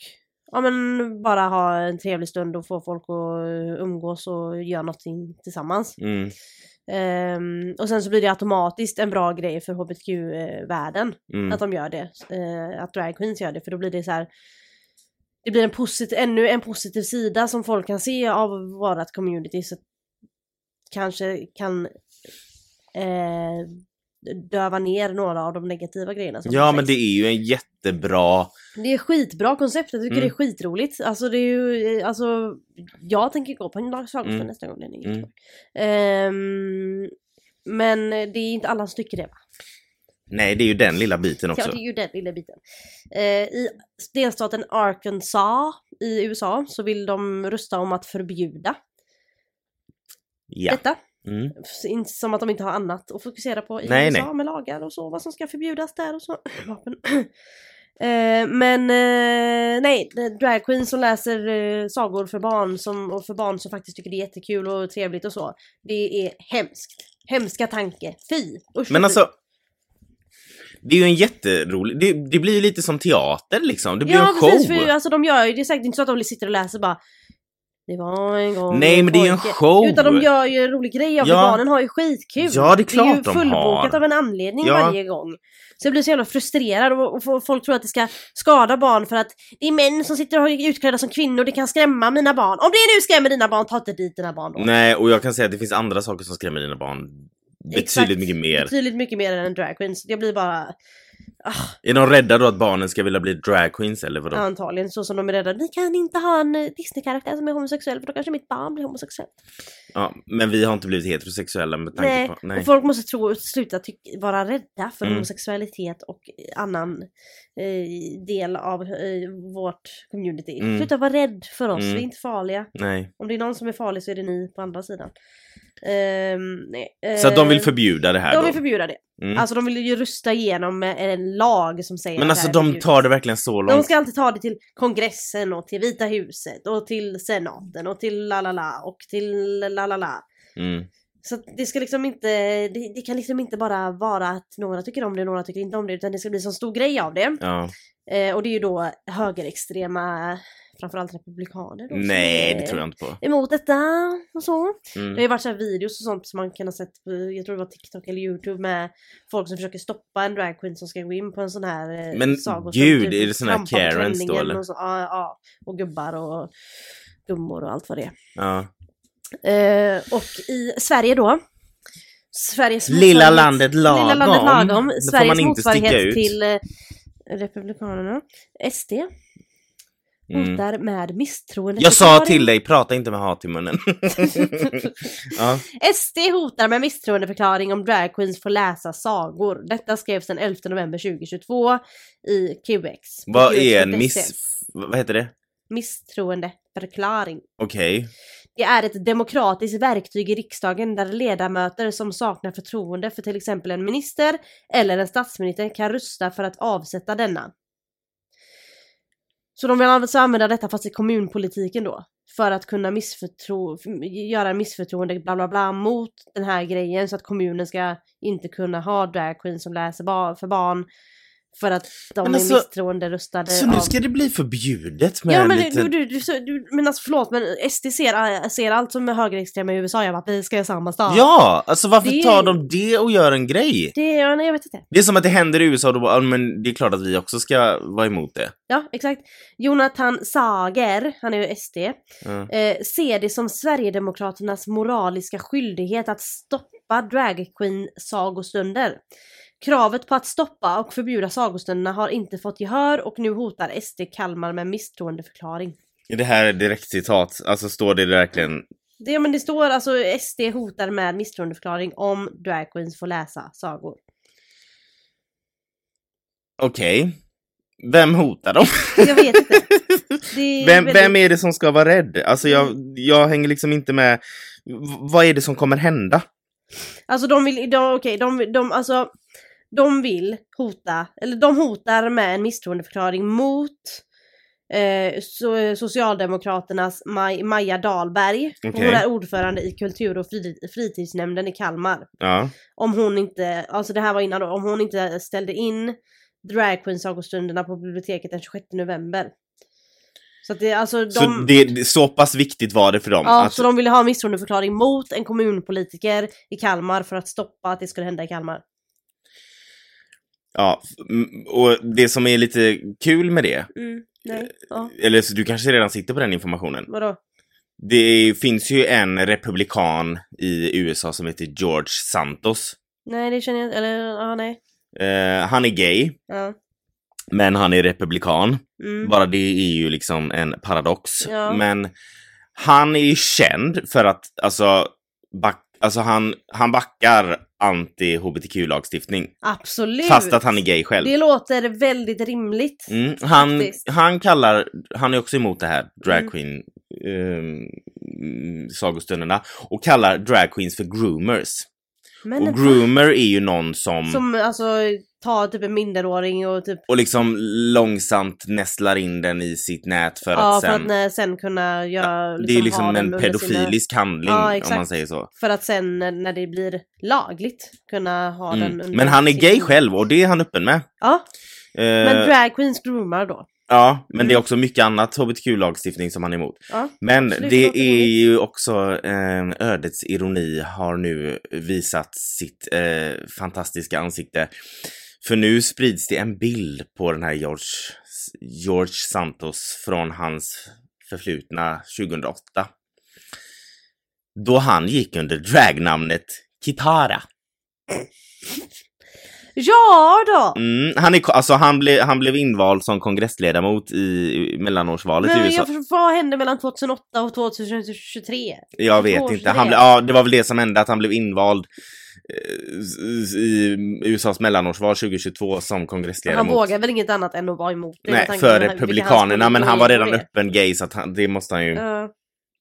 Speaker 2: ja, men bara ha en trevlig stund och få folk att eh, umgås och göra någonting tillsammans.
Speaker 1: Mm.
Speaker 2: Ehm, och sen så blir det automatiskt en bra grej för hbtq-världen
Speaker 1: Mm.
Speaker 2: att de gör det. Eh, att drag queens gör det, för då blir det så här. Det blir en positiv, ännu en positiv sida som folk kan se av vårat community. Så kanske kan eh, döva ner några av de negativa grejerna. Som
Speaker 1: Ja,
Speaker 2: sägs.
Speaker 1: men det är ju en jättebra...
Speaker 2: det är skitbra koncept, jag tycker
Speaker 1: Mm.
Speaker 2: det är skitroligt. Alltså det är ju, eh, alltså jag tänker gå på en lagslagstund
Speaker 1: Mm.
Speaker 2: nästa gång den är i
Speaker 1: Mm.
Speaker 2: Göteborg. Ehm, men det är inte alla som tycker det va?
Speaker 1: Nej, det är ju den lilla biten också.
Speaker 2: Ja, det är ju den lilla biten. Eh, I delstaten Arkansas i USA så vill de rösta om att förbjuda
Speaker 1: Ja.
Speaker 2: detta.
Speaker 1: Mm.
Speaker 2: F- Inte som att de inte har annat att fokusera på i
Speaker 1: Nej,
Speaker 2: USA
Speaker 1: nej.
Speaker 2: med lagar och så, vad som ska förbjudas där och så. Vapen. Eh, men eh, nej, det är drag queens som läser eh, sagor för barn som, och för barn som faktiskt tycker det är jättekul och trevligt och så. Det är hemskt. Hemska tanke. Fy! Usch,
Speaker 1: Men
Speaker 2: fy.
Speaker 1: alltså... Det är ju en jätterolig... Det, det blir ju lite som teater liksom. Det blir
Speaker 2: ja,
Speaker 1: en show.
Speaker 2: precis, för alltså, de gör ju, det är säkert inte så att de sitter och läser bara Det var en gång
Speaker 1: Nej, men det är ju en
Speaker 2: pojke."
Speaker 1: show.
Speaker 2: Utan de gör ju en rolig grej av
Speaker 1: Ja.
Speaker 2: det, barnen har ju skitkul!
Speaker 1: Ja, det är klart
Speaker 2: det är ju
Speaker 1: de
Speaker 2: fullbokat
Speaker 1: har.
Speaker 2: av en anledning
Speaker 1: Ja.
Speaker 2: varje gång. Så jag blir så jävla frustrerad och, och få- folk tror att det ska skada barn för att det är män som sitter och är utklädda som kvinnor, det kan skrämma mina barn. Om det nu skrämmer dina barn, ta inte dit dina barn då.
Speaker 1: Nej, och jag kan säga att det finns andra saker som skrämmer dina barn Mm, betydligt
Speaker 2: Exakt.
Speaker 1: mycket mer.
Speaker 2: Betydligt mycket mer än en drag queen, så jag blir bara
Speaker 1: Är de rädda då att barnen ska vilja bli drag queens eller vadå?
Speaker 2: antagligen så som de är rädda. Ni kan inte ha en eh, Disney-karaktär som är homosexuell för då kanske mitt barn blir homosexuell.
Speaker 1: Ja, men vi har inte blivit heterosexuella med tanke
Speaker 2: Nej,
Speaker 1: på...
Speaker 2: Och
Speaker 1: Nej.
Speaker 2: folk måste tro, sluta tyck- vara rädda för
Speaker 1: Mm.
Speaker 2: homosexualitet och annan eh, del av eh, vårt community.
Speaker 1: Mm.
Speaker 2: Sluta vara rädd för oss,
Speaker 1: Mm.
Speaker 2: vi är inte farliga.
Speaker 1: Nej.
Speaker 2: Om det är någon som är farlig så är det ni på andra sidan. Ehm, nej,
Speaker 1: Så att de vill
Speaker 2: eh,
Speaker 1: förbjuda det här
Speaker 2: De
Speaker 1: då?
Speaker 2: vill förbjuda det.
Speaker 1: Mm.
Speaker 2: Alltså de vill ju rösta igenom eh, en lag som säger
Speaker 1: men
Speaker 2: att
Speaker 1: alltså
Speaker 2: det här är
Speaker 1: de tar det verkligen så
Speaker 2: förbjudet. de
Speaker 1: långt.
Speaker 2: ska alltid ta det till kongressen och till Vita huset och till senaten och till la la la och till la la la.
Speaker 1: Mm.
Speaker 2: Så att det ska liksom inte, det, det kan liksom inte bara vara att några tycker om det och några tycker inte om det utan det ska bli en sån stor grej av det.
Speaker 1: Ja.
Speaker 2: Eh, och det är ju då högerextrema, framförallt republikaner då, som
Speaker 1: Nej,
Speaker 2: är
Speaker 1: det tror jag inte på.
Speaker 2: Emot detta och så. Det har
Speaker 1: Mm.
Speaker 2: ju varit så här videos och sånt som man kan ha sett på, jag tror det var TikTok eller YouTube med folk som försöker stoppa en drag queen som ska gå in på en sån här eh,
Speaker 1: Men
Speaker 2: sagostund,
Speaker 1: gud,
Speaker 2: typ
Speaker 1: är det såna här
Speaker 2: krampa om
Speaker 1: Karens då,
Speaker 2: klänningen
Speaker 1: eller?
Speaker 2: Och så, ja, ja, och gubbar och gummor och allt vad det är.
Speaker 1: Ja.
Speaker 2: Eh, och i Sverige då. Sveriges
Speaker 1: Lilla
Speaker 2: motsvarighet-
Speaker 1: landet lagom.
Speaker 2: Lilla landet lagom.
Speaker 1: Då får
Speaker 2: Sveriges
Speaker 1: man inte sticka
Speaker 2: motsvarighet
Speaker 1: ut.
Speaker 2: till eh, Republikanerna. SD
Speaker 1: Mm.
Speaker 2: hotar med misstroende.
Speaker 1: Jag sa till dig, prata inte med hat i munnen. ja.
Speaker 2: SD hotar med misstroendeförklaring om drag queens får läsa sagor. Detta skrevs den 11 november 2022 i QX. på
Speaker 1: Vad
Speaker 2: QX.se.
Speaker 1: är en miss... Vad heter det?
Speaker 2: Misstroendeförklaring.
Speaker 1: Okej.
Speaker 2: Det är ett demokratiskt verktyg i riksdagen där ledamöter som saknar förtroende för till exempel en minister eller en statsminister kan rösta för att avsätta denna. Så de vill alltså använda detta fast i kommunpolitiken då. För att kunna missförtro- göra missförtroende bla bla bla mot den här grejen så att kommunen ska inte kunna ha drag queen som läser ba- för barn. För att de
Speaker 1: Men alltså,
Speaker 2: är misstroenderöstade
Speaker 1: Så nu
Speaker 2: av-
Speaker 1: ska det bli förbjudet med
Speaker 2: Ja men,
Speaker 1: en liten...
Speaker 2: du, du, du, du, men alltså förlåt men SD ser, äh, ser allt som är högerextrema i USA, jag bara vi ska göra samma sak.
Speaker 1: Ja, alltså varför
Speaker 2: Det-
Speaker 1: tar de det och gör en grej?
Speaker 2: Det, ja, nej, jag vet inte.
Speaker 1: Det är som att det händer i USA och då bara, "Ja, men det är klart att vi också ska vara emot det.
Speaker 2: Ja, exakt. Jonathan Sager, han är ju SD,
Speaker 1: Ja.
Speaker 2: eh, ser det som Sverigedemokraternas moraliska skyldighet att stoppa dragqueen-sagostunder. Kravet på att stoppa och förbjuda sagostunderna har inte fått gehör och nu hotar SD Kalmar med misstroendeförklaring.
Speaker 1: Det här är direkt citat, alltså står det verkligen...
Speaker 2: Det, ja, men det står alltså SD hotar med misstroendeförklaring om dragqueens får läsa sagor.
Speaker 1: Okej. Vem hotar dem?
Speaker 2: Jag vet inte. Det
Speaker 1: Vem,
Speaker 2: väldigt- Mm.
Speaker 1: vem är det som ska vara rädd? Alltså jag, jag hänger liksom inte med. V vad är det som kommer hända?
Speaker 2: Alltså de vill, de, okej, de, de, alltså, de vill hota, eller de hotar med en misstroendeförklaring mot eh, so, Socialdemokraternas Maj, Maja Dahlberg.
Speaker 1: Okej.
Speaker 2: Hon är ordförande i kultur och fri- fritidsnämnden i Kalmar.
Speaker 1: Ja.
Speaker 2: Om hon inte, alltså det här var innan då, om hon inte ställde in drag queen sagostunderna på biblioteket den 26 november. Så att det, alltså de...
Speaker 1: Så, det, det, så pass viktigt var det för dem.
Speaker 2: Ja,
Speaker 1: att,
Speaker 2: så de ville ha en misstroendeförklaring mot en kommunpolitiker i Kalmar för att stoppa att det skulle hända i Kalmar.
Speaker 1: ja, mm, och det som är lite kul med det,
Speaker 2: Mm, nej, ja.
Speaker 1: eller så du kanske redan sitter på den informationen.
Speaker 2: Vadå?
Speaker 1: Det finns ju en republikan i USA som heter George Santos.
Speaker 2: Nej, det känner jag inte. Eller, ja, nej.
Speaker 1: Eh, han är gay,
Speaker 2: Ja.
Speaker 1: men han är republikan.
Speaker 2: Mm.
Speaker 1: Bara det är ju liksom en paradox.
Speaker 2: Ja.
Speaker 1: Men han är ju känd för att, alltså, back, alltså han, han backar anti-hbtq-lagstiftning.
Speaker 2: Absolut.
Speaker 1: Fast att han är gay själv.
Speaker 2: Det låter väldigt rimligt.
Speaker 1: Mm, han,
Speaker 2: Faktiskt.
Speaker 1: han kallar, han är också emot det här drag
Speaker 2: Mm.
Speaker 1: queen ehm, sagostunderna och kallar drag queens för groomers.
Speaker 2: Men
Speaker 1: och groomer är ju någon som,
Speaker 2: som alltså tar typ en minderåring och typ
Speaker 1: och liksom långsamt nästlar in den i sitt nät för
Speaker 2: Ja,
Speaker 1: att sen...
Speaker 2: för att eh, sen kunna göra...
Speaker 1: det är
Speaker 2: ha
Speaker 1: liksom
Speaker 2: dem
Speaker 1: en
Speaker 2: under sina-
Speaker 1: pedofilisk handling
Speaker 2: Ja,
Speaker 1: om man
Speaker 2: exakt.
Speaker 1: säger så.
Speaker 2: För att sen eh, när det blir lagligt kunna ha den
Speaker 1: Mm.
Speaker 2: under
Speaker 1: Men han är
Speaker 2: sin-
Speaker 1: gay själv och det är han öppen med.
Speaker 2: Ja,
Speaker 1: Eh,
Speaker 2: men drag queens groomar då.
Speaker 1: ja, men det är
Speaker 2: Mm.
Speaker 1: också mycket annat hbtq-lagstiftning som han är emot.
Speaker 2: Ja.
Speaker 1: Men
Speaker 2: Absolut,
Speaker 1: det
Speaker 2: låter
Speaker 1: är
Speaker 2: rimligt.
Speaker 1: ju också eh, ödets ironi har nu visat sitt eh, fantastiska ansikte. För nu sprids det en bild på den här George, George Santos från hans förflutna 2008. Då han gick under dragnamnet Kitara.
Speaker 2: Ja då!
Speaker 1: Mm, han, är, alltså, han, ble, han blev invald som kongressledamot i, i mellanårsvalet i
Speaker 2: Men
Speaker 1: USA.
Speaker 2: jag, förstår- vad hände mellan 2008 och 2023?
Speaker 1: Jag vet
Speaker 2: George
Speaker 1: inte. Han
Speaker 2: Dredd.
Speaker 1: ble, ja, det var väl det som hände, att han blev invald eh, s- s- i USAs mellanårsval 2022 som
Speaker 2: Han
Speaker 1: kongressledamot.
Speaker 2: vågar väl inget annat än att vara emot det? med
Speaker 1: Nej,
Speaker 2: tanke
Speaker 1: för
Speaker 2: på den här- vilka
Speaker 1: Republikanerna,
Speaker 2: hans
Speaker 1: men han var redan
Speaker 2: politiker
Speaker 1: öppen gay så att han, det måste han ju...
Speaker 2: är. Ja.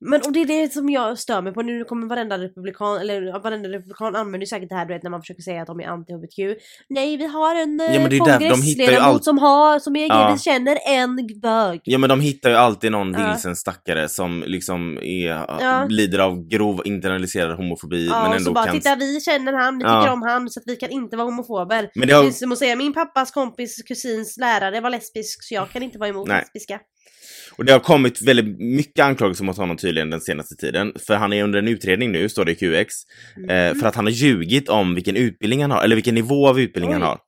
Speaker 2: Men och det är det som jag stör mig på nu, kommer varenda republikan, eller ja, varenda republikan använder ju säkert det här du vet när man försöker säga att de är anti-HBTQ. Nej vi har en
Speaker 1: Ja, men det
Speaker 2: eh,
Speaker 1: är där- de hittar ju
Speaker 2: kongressledamot
Speaker 1: allt-
Speaker 2: som har, som är
Speaker 1: Ja.
Speaker 2: vi känner en bög.
Speaker 1: Ja men de hittar ju alltid någon
Speaker 2: Ja.
Speaker 1: vilsen stackare som liksom är,
Speaker 2: Ja.
Speaker 1: lider av grov internaliserad homofobi
Speaker 2: Ja,
Speaker 1: men
Speaker 2: och så
Speaker 1: ändå
Speaker 2: bara
Speaker 1: kan...
Speaker 2: titta vi känner han, vi
Speaker 1: Ja.
Speaker 2: tycker om han så att vi kan inte vara homofober.
Speaker 1: Men det har,
Speaker 2: Det är som att säga min pappas kompis kusins lärare var lesbisk så jag kan inte vara emot
Speaker 1: Nej.
Speaker 2: lesbiska.
Speaker 1: och det har kommit väldigt mycket anklagelser mot honom tydligen den senaste tiden. För han är under en utredning nu, står det i QX.
Speaker 2: Mm.
Speaker 1: Eh, för att han har ljugit om vilken utbildning han har, eller vilken nivå av utbildning han
Speaker 2: Oj.
Speaker 1: har.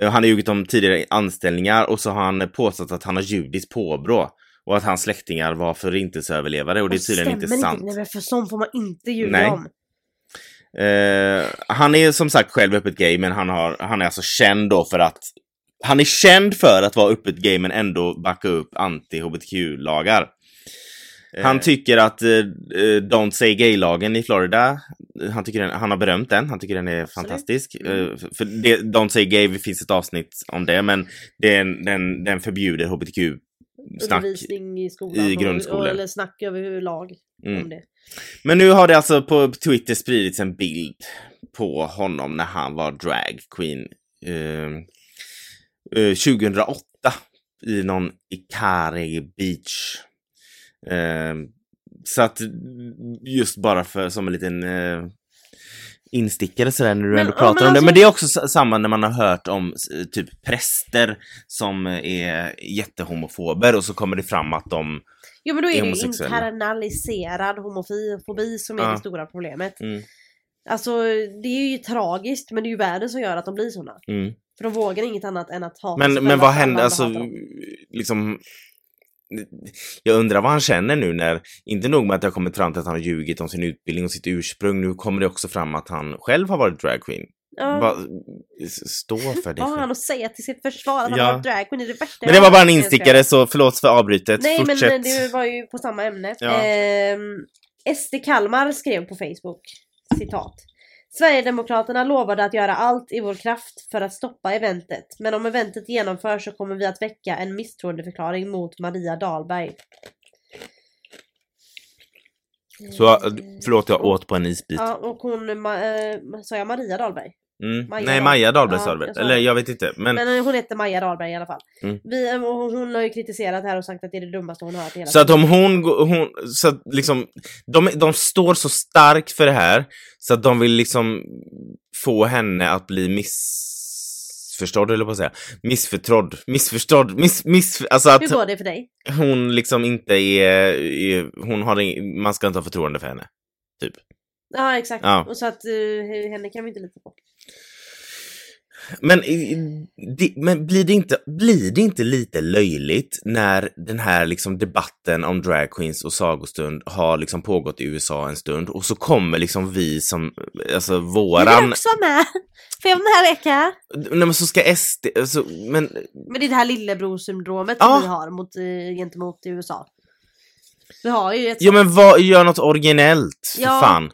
Speaker 1: Eh, Han har ljugit om tidigare anställningar och så har han påstått att han har judiskt påbrå och att hans släktingar var förintelseöverlevare och det är tydligen inte
Speaker 2: stämmer
Speaker 1: sant.
Speaker 2: Nej, men för sånt får man inte ljuga
Speaker 1: Nej.
Speaker 2: om.
Speaker 1: Eh, han är som sagt själv öppet gay men han, har, han är alltså känd då för att han är känd för att vara öppet gay men ändå backa upp anti-hbtq-lagar. Han tycker att eh, eh, Don't Say Gay-lagen i Florida, eh, han, tycker den, han har berömt den, han tycker den är fantastisk.
Speaker 2: Mm.
Speaker 1: Eh, för det, Don't Say Gay, det finns ett avsnitt om det, men det är en, den, den förbjuder hbtq-snack.
Speaker 2: Undervisning i skolan.
Speaker 1: i
Speaker 2: och-
Speaker 1: grundskolan.
Speaker 2: och- Eller snack överlag
Speaker 1: Mm.
Speaker 2: om det.
Speaker 1: Men nu har det alltså på Twitter spridits en bild på honom när han var drag queen eh, eh, 2008 i någon Ikari Beach. Ehm, Eh, så att just bara för som en liten eh, instickare sådär när du
Speaker 2: Men-
Speaker 1: ändå
Speaker 2: ja,
Speaker 1: pratar
Speaker 2: men
Speaker 1: om det.
Speaker 2: alltså-
Speaker 1: Men det är också s- samma när man har hört om s- typ präster som är jättehomofober och så kommer det fram att de...
Speaker 2: Jo men då är det ju
Speaker 1: Homosexuella.
Speaker 2: internaliserad homofobi som är
Speaker 1: Ja.
Speaker 2: det stora problemet.
Speaker 1: Mm,
Speaker 2: Alltså det är ju tragiskt men det är ju världen som gör att de blir såna.
Speaker 1: mm.
Speaker 2: För de vågar inget annat än att hata sig
Speaker 1: Men, men
Speaker 2: själva,
Speaker 1: vad
Speaker 2: för alla
Speaker 1: händer,
Speaker 2: andra
Speaker 1: alltså
Speaker 2: hatar dem.
Speaker 1: liksom... Jag undrar vad han känner nu när, inte nog med att det har kommit fram till att han har ljugit om sin utbildning och sitt ursprung, nu kommer det också fram att han själv har varit dragqueen.
Speaker 2: Ja.
Speaker 1: Va, s- stå för det.
Speaker 2: Vad har han att säga till sitt försvar? Att han
Speaker 1: Ja.
Speaker 2: har varit dragqueen är det värsta
Speaker 1: Men det
Speaker 2: jag
Speaker 1: var bara en
Speaker 2: någonsin ska göra.
Speaker 1: instickare, så förlåt för avbrytet.
Speaker 2: Nej
Speaker 1: Fortsätt.
Speaker 2: men eh, det var ju på samma ämne.
Speaker 1: Ja.
Speaker 2: Ehm, SD Kalmar skrev på Facebook, citat. Sverigedemokraterna lovade att göra allt i vår kraft för att stoppa eventet. Men om eventet genomförs så kommer vi att väcka en misstroendeförklaring mot Maria Dahlberg.
Speaker 1: Så, eh,
Speaker 2: Ehm,
Speaker 1: förlåt, jag åt på en isbit.
Speaker 2: Ja, och hon, ma- eh, sa jag Maria Dahlberg?
Speaker 1: Mm.
Speaker 2: Maja
Speaker 1: Nej,
Speaker 2: Dahl-
Speaker 1: Maja Dahlberg
Speaker 2: Ja,
Speaker 1: sa det väl?
Speaker 2: jag sa
Speaker 1: Eller
Speaker 2: det.
Speaker 1: jag vet inte. Men,
Speaker 2: Men eh, hon heter Maja Dahlberg i alla fall.
Speaker 1: Mm.
Speaker 2: Vi, eh, och hon har ju kritiserat det här och sagt att det är det dummaste hon har hört i hela
Speaker 1: så att
Speaker 2: tiden.
Speaker 1: om hon, går- hon så att liksom, de, de står så starkt för det här så att de vill liksom få henne att bli missförstådd, eller på att säga. Missförtrodd. Missförstådd. Miss, miss, alltså att
Speaker 2: Hur går det för dig?
Speaker 1: hon liksom inte är, är hon har, ing- man ska inte ha förtroende för henne.
Speaker 2: Ja exakt.
Speaker 1: Ja.
Speaker 2: Och så att eh, henne kan vi inte lita på.
Speaker 1: Men, i- i- det, men blir, det inte, blir det inte lite löjligt när den här liksom debatten om drag queens och sagostund har liksom pågått i USA en stund och så kommer liksom vi som, alltså
Speaker 2: Jag vill
Speaker 1: våran,
Speaker 2: också vara med! För jag den här veckan.
Speaker 1: nej men så ska SD, alltså, men
Speaker 2: Men det är det här lillebrorsyndromet som
Speaker 1: Ja.
Speaker 2: vi har mot, eh, gentemot USA. Vi har ju ett
Speaker 1: ja men vad, gör något originellt, för
Speaker 2: Ja.
Speaker 1: fan.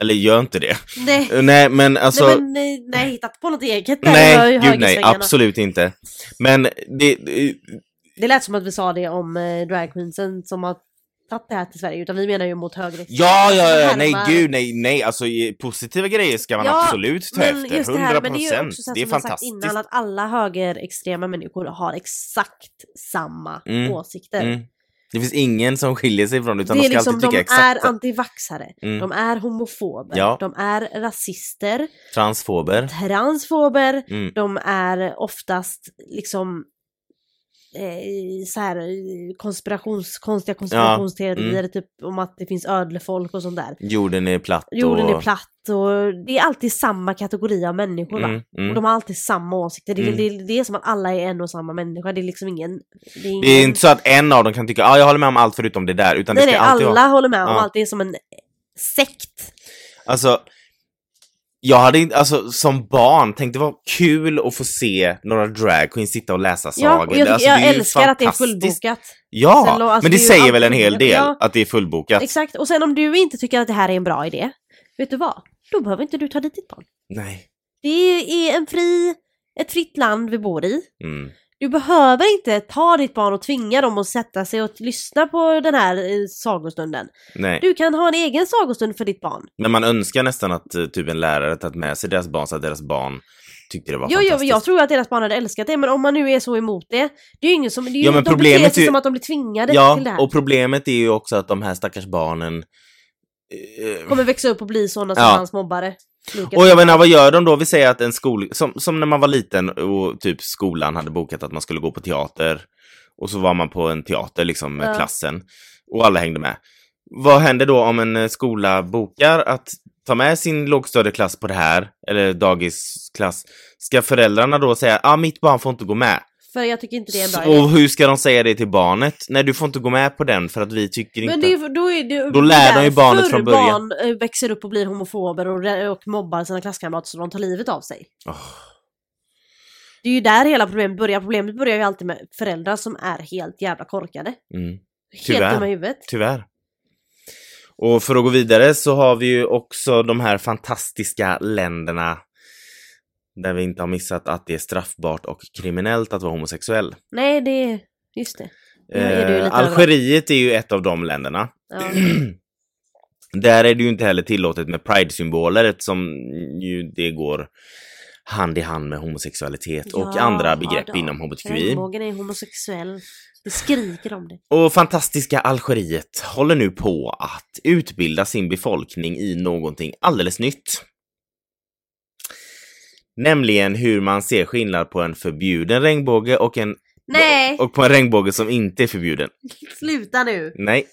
Speaker 1: Eller gör inte det.
Speaker 2: Nej,
Speaker 1: Nej men alltså
Speaker 2: nej men nej, nej, hittat på något eget där. Det var ju
Speaker 1: Nej, gud nej,
Speaker 2: högersvängarna.
Speaker 1: absolut inte. Men det, det-
Speaker 2: Det lät som att vi sa det om eh, dragqueensen som har tagit det här till Sverige. Utan vi menar ju mot Alltså, högre.
Speaker 1: ja, ja, ja,
Speaker 2: Härmar.
Speaker 1: nej, gud nej, nej, alltså i- positiva grejer ska man
Speaker 2: Ja,
Speaker 1: absolut ta
Speaker 2: Men
Speaker 1: efter,
Speaker 2: just det här,
Speaker 1: 100
Speaker 2: men det är ju också
Speaker 1: procent.
Speaker 2: så här
Speaker 1: Det är
Speaker 2: som jag sagt
Speaker 1: fantastiskt.
Speaker 2: innan att alla högerextrema människor har exakt samma
Speaker 1: Mm.
Speaker 2: åsikter.
Speaker 1: Mm. Det finns ingen som skiljer sig från det, utan
Speaker 2: eh, det
Speaker 1: de ska
Speaker 2: är liksom,
Speaker 1: alltid
Speaker 2: de
Speaker 1: tycka exakt
Speaker 2: är
Speaker 1: samma.
Speaker 2: antivaxare,
Speaker 1: Mm.
Speaker 2: de är homofober,
Speaker 1: Ja.
Speaker 2: de är rasister,
Speaker 1: Transfober.
Speaker 2: transfober,
Speaker 1: Mm.
Speaker 2: de är oftast liksom eh, så här eh, konspirations, konstiga konspirationsteorier,
Speaker 1: Mm.
Speaker 2: typ om att det finns ödlefolk och sånt där.
Speaker 1: Jorden är platt
Speaker 2: Jorden
Speaker 1: och...
Speaker 2: är platt och det är alltid samma kategori av människor va?
Speaker 1: Mm, mm.
Speaker 2: Och de har alltid samma åsikter. Det,
Speaker 1: Mm.
Speaker 2: det, det, är som att alla är en och samma människa. Det är liksom ingen... Det är, ingen...
Speaker 1: Det är inte så att en av dem kan tycka ah, jag håller med om allt förutom det där, utan
Speaker 2: nej,
Speaker 1: det
Speaker 2: nej,
Speaker 1: ska alltid vara...
Speaker 2: alla håller med om
Speaker 1: Ja.
Speaker 2: allt. Det är som en sekt.
Speaker 1: Alltså, jag hade inte, alltså som barn, tänkte det var kul att få se några dragqueens sitta och läsa sagor.
Speaker 2: Ja, och jag,
Speaker 1: alltså,
Speaker 2: tycker,
Speaker 1: det
Speaker 2: jag
Speaker 1: är ju
Speaker 2: älskar att det är
Speaker 1: fantastiskt.
Speaker 2: fullbokat.
Speaker 1: Ja,
Speaker 2: Sen lo-
Speaker 1: men
Speaker 2: alltså,
Speaker 1: det,
Speaker 2: det är ju
Speaker 1: säger
Speaker 2: allt
Speaker 1: väl en hel
Speaker 2: fullbokat.
Speaker 1: del
Speaker 2: Ja.
Speaker 1: att det är fullbokat.
Speaker 2: Exakt. Och sen om du inte tycker att det här är en bra idé, vet du vad? Då behöver inte du ta dit ditt barn.
Speaker 1: Nej.
Speaker 2: Det är en fri, ett fritt land vi bor i.
Speaker 1: Mm.
Speaker 2: Du behöver inte ta ditt barn och tvinga dem att sätta sig och lyssna på den här eh, sagostunden.
Speaker 1: Nej.
Speaker 2: Du kan ha en egen sagostund för ditt barn.
Speaker 1: Men man önskar nästan att eh, typ en lärare tagit med sig deras barn så att deras barn tyckte det var
Speaker 2: Jo, jo,
Speaker 1: fantastiskt.
Speaker 2: jag tror att deras barn hade älskat det, men om man nu är så emot det, det är ju ingen som... Det är ju,
Speaker 1: Ja, men
Speaker 2: de
Speaker 1: problemet
Speaker 2: beter sig
Speaker 1: är ju-
Speaker 2: som att de blir tvingade till det
Speaker 1: ja,
Speaker 2: här.
Speaker 1: och problemet är ju också att de här stackars barnen... eh,
Speaker 2: Kommer växa upp och bli sådana som
Speaker 1: Ja.
Speaker 2: hans mobbare. Lukas.
Speaker 1: Och jag menar, vad gör de då? Vi säger att en skol... Som, som när man var liten och typ skolan hade bokat att man skulle gå på teater. Och så var man på en teater liksom med
Speaker 2: Ja.
Speaker 1: klassen. Och alla hängde med. Vad händer då om en eh, skola bokar att ta med sin lågstadieklass på det här, eller dagisklass? Ska föräldrarna då säga ah, mitt barn får inte gå med?
Speaker 2: För jag tycker inte det är en bra
Speaker 1: Så-
Speaker 2: idé.
Speaker 1: Och hur ska de säga det till barnet? Nej, du får inte gå med på den för att vi tycker
Speaker 2: Men
Speaker 1: inte...
Speaker 2: det är, ju- då, är det,
Speaker 1: Då lär de ju
Speaker 2: därför
Speaker 1: barnet från början.
Speaker 2: barn eh, växer upp och blir homofober och, re- och mobbar sina klasskamrater så de tar livet av sig.
Speaker 1: Åh.
Speaker 2: Det är ju där hela problemet börjar. Problemet börjar ju alltid med föräldrar som är helt jävla korkade.
Speaker 1: Mm. Tyvärr.
Speaker 2: Helt dumma i huvudet.
Speaker 1: Tyvärr. Och för att gå vidare så har vi ju också de här fantastiska länderna där vi inte har missat att det är straffbart och kriminellt att vara homosexuell.
Speaker 2: Nej, det är... Just det. Nu är du lite
Speaker 1: Eh, Algeriet är ju ett av de länderna.
Speaker 2: Ja.
Speaker 1: Där är det ju inte heller tillåtet med pride-symboler eftersom ju det går hand i hand med homosexualitet och
Speaker 2: Ja,
Speaker 1: andra begrepp
Speaker 2: ja då.
Speaker 1: inom hbtqi.
Speaker 2: Regnbågen är homosexuell. Det skriker om det.
Speaker 1: Och fantastiska Algeriet håller nu på att utbilda sin befolkning i någonting alldeles nytt. Nämligen hur man ser skillnad på en förbjuden regnbåge och, en,
Speaker 2: Nej,
Speaker 1: och på en regnbåge som inte är förbjuden.
Speaker 2: sluta nu.
Speaker 1: Nej.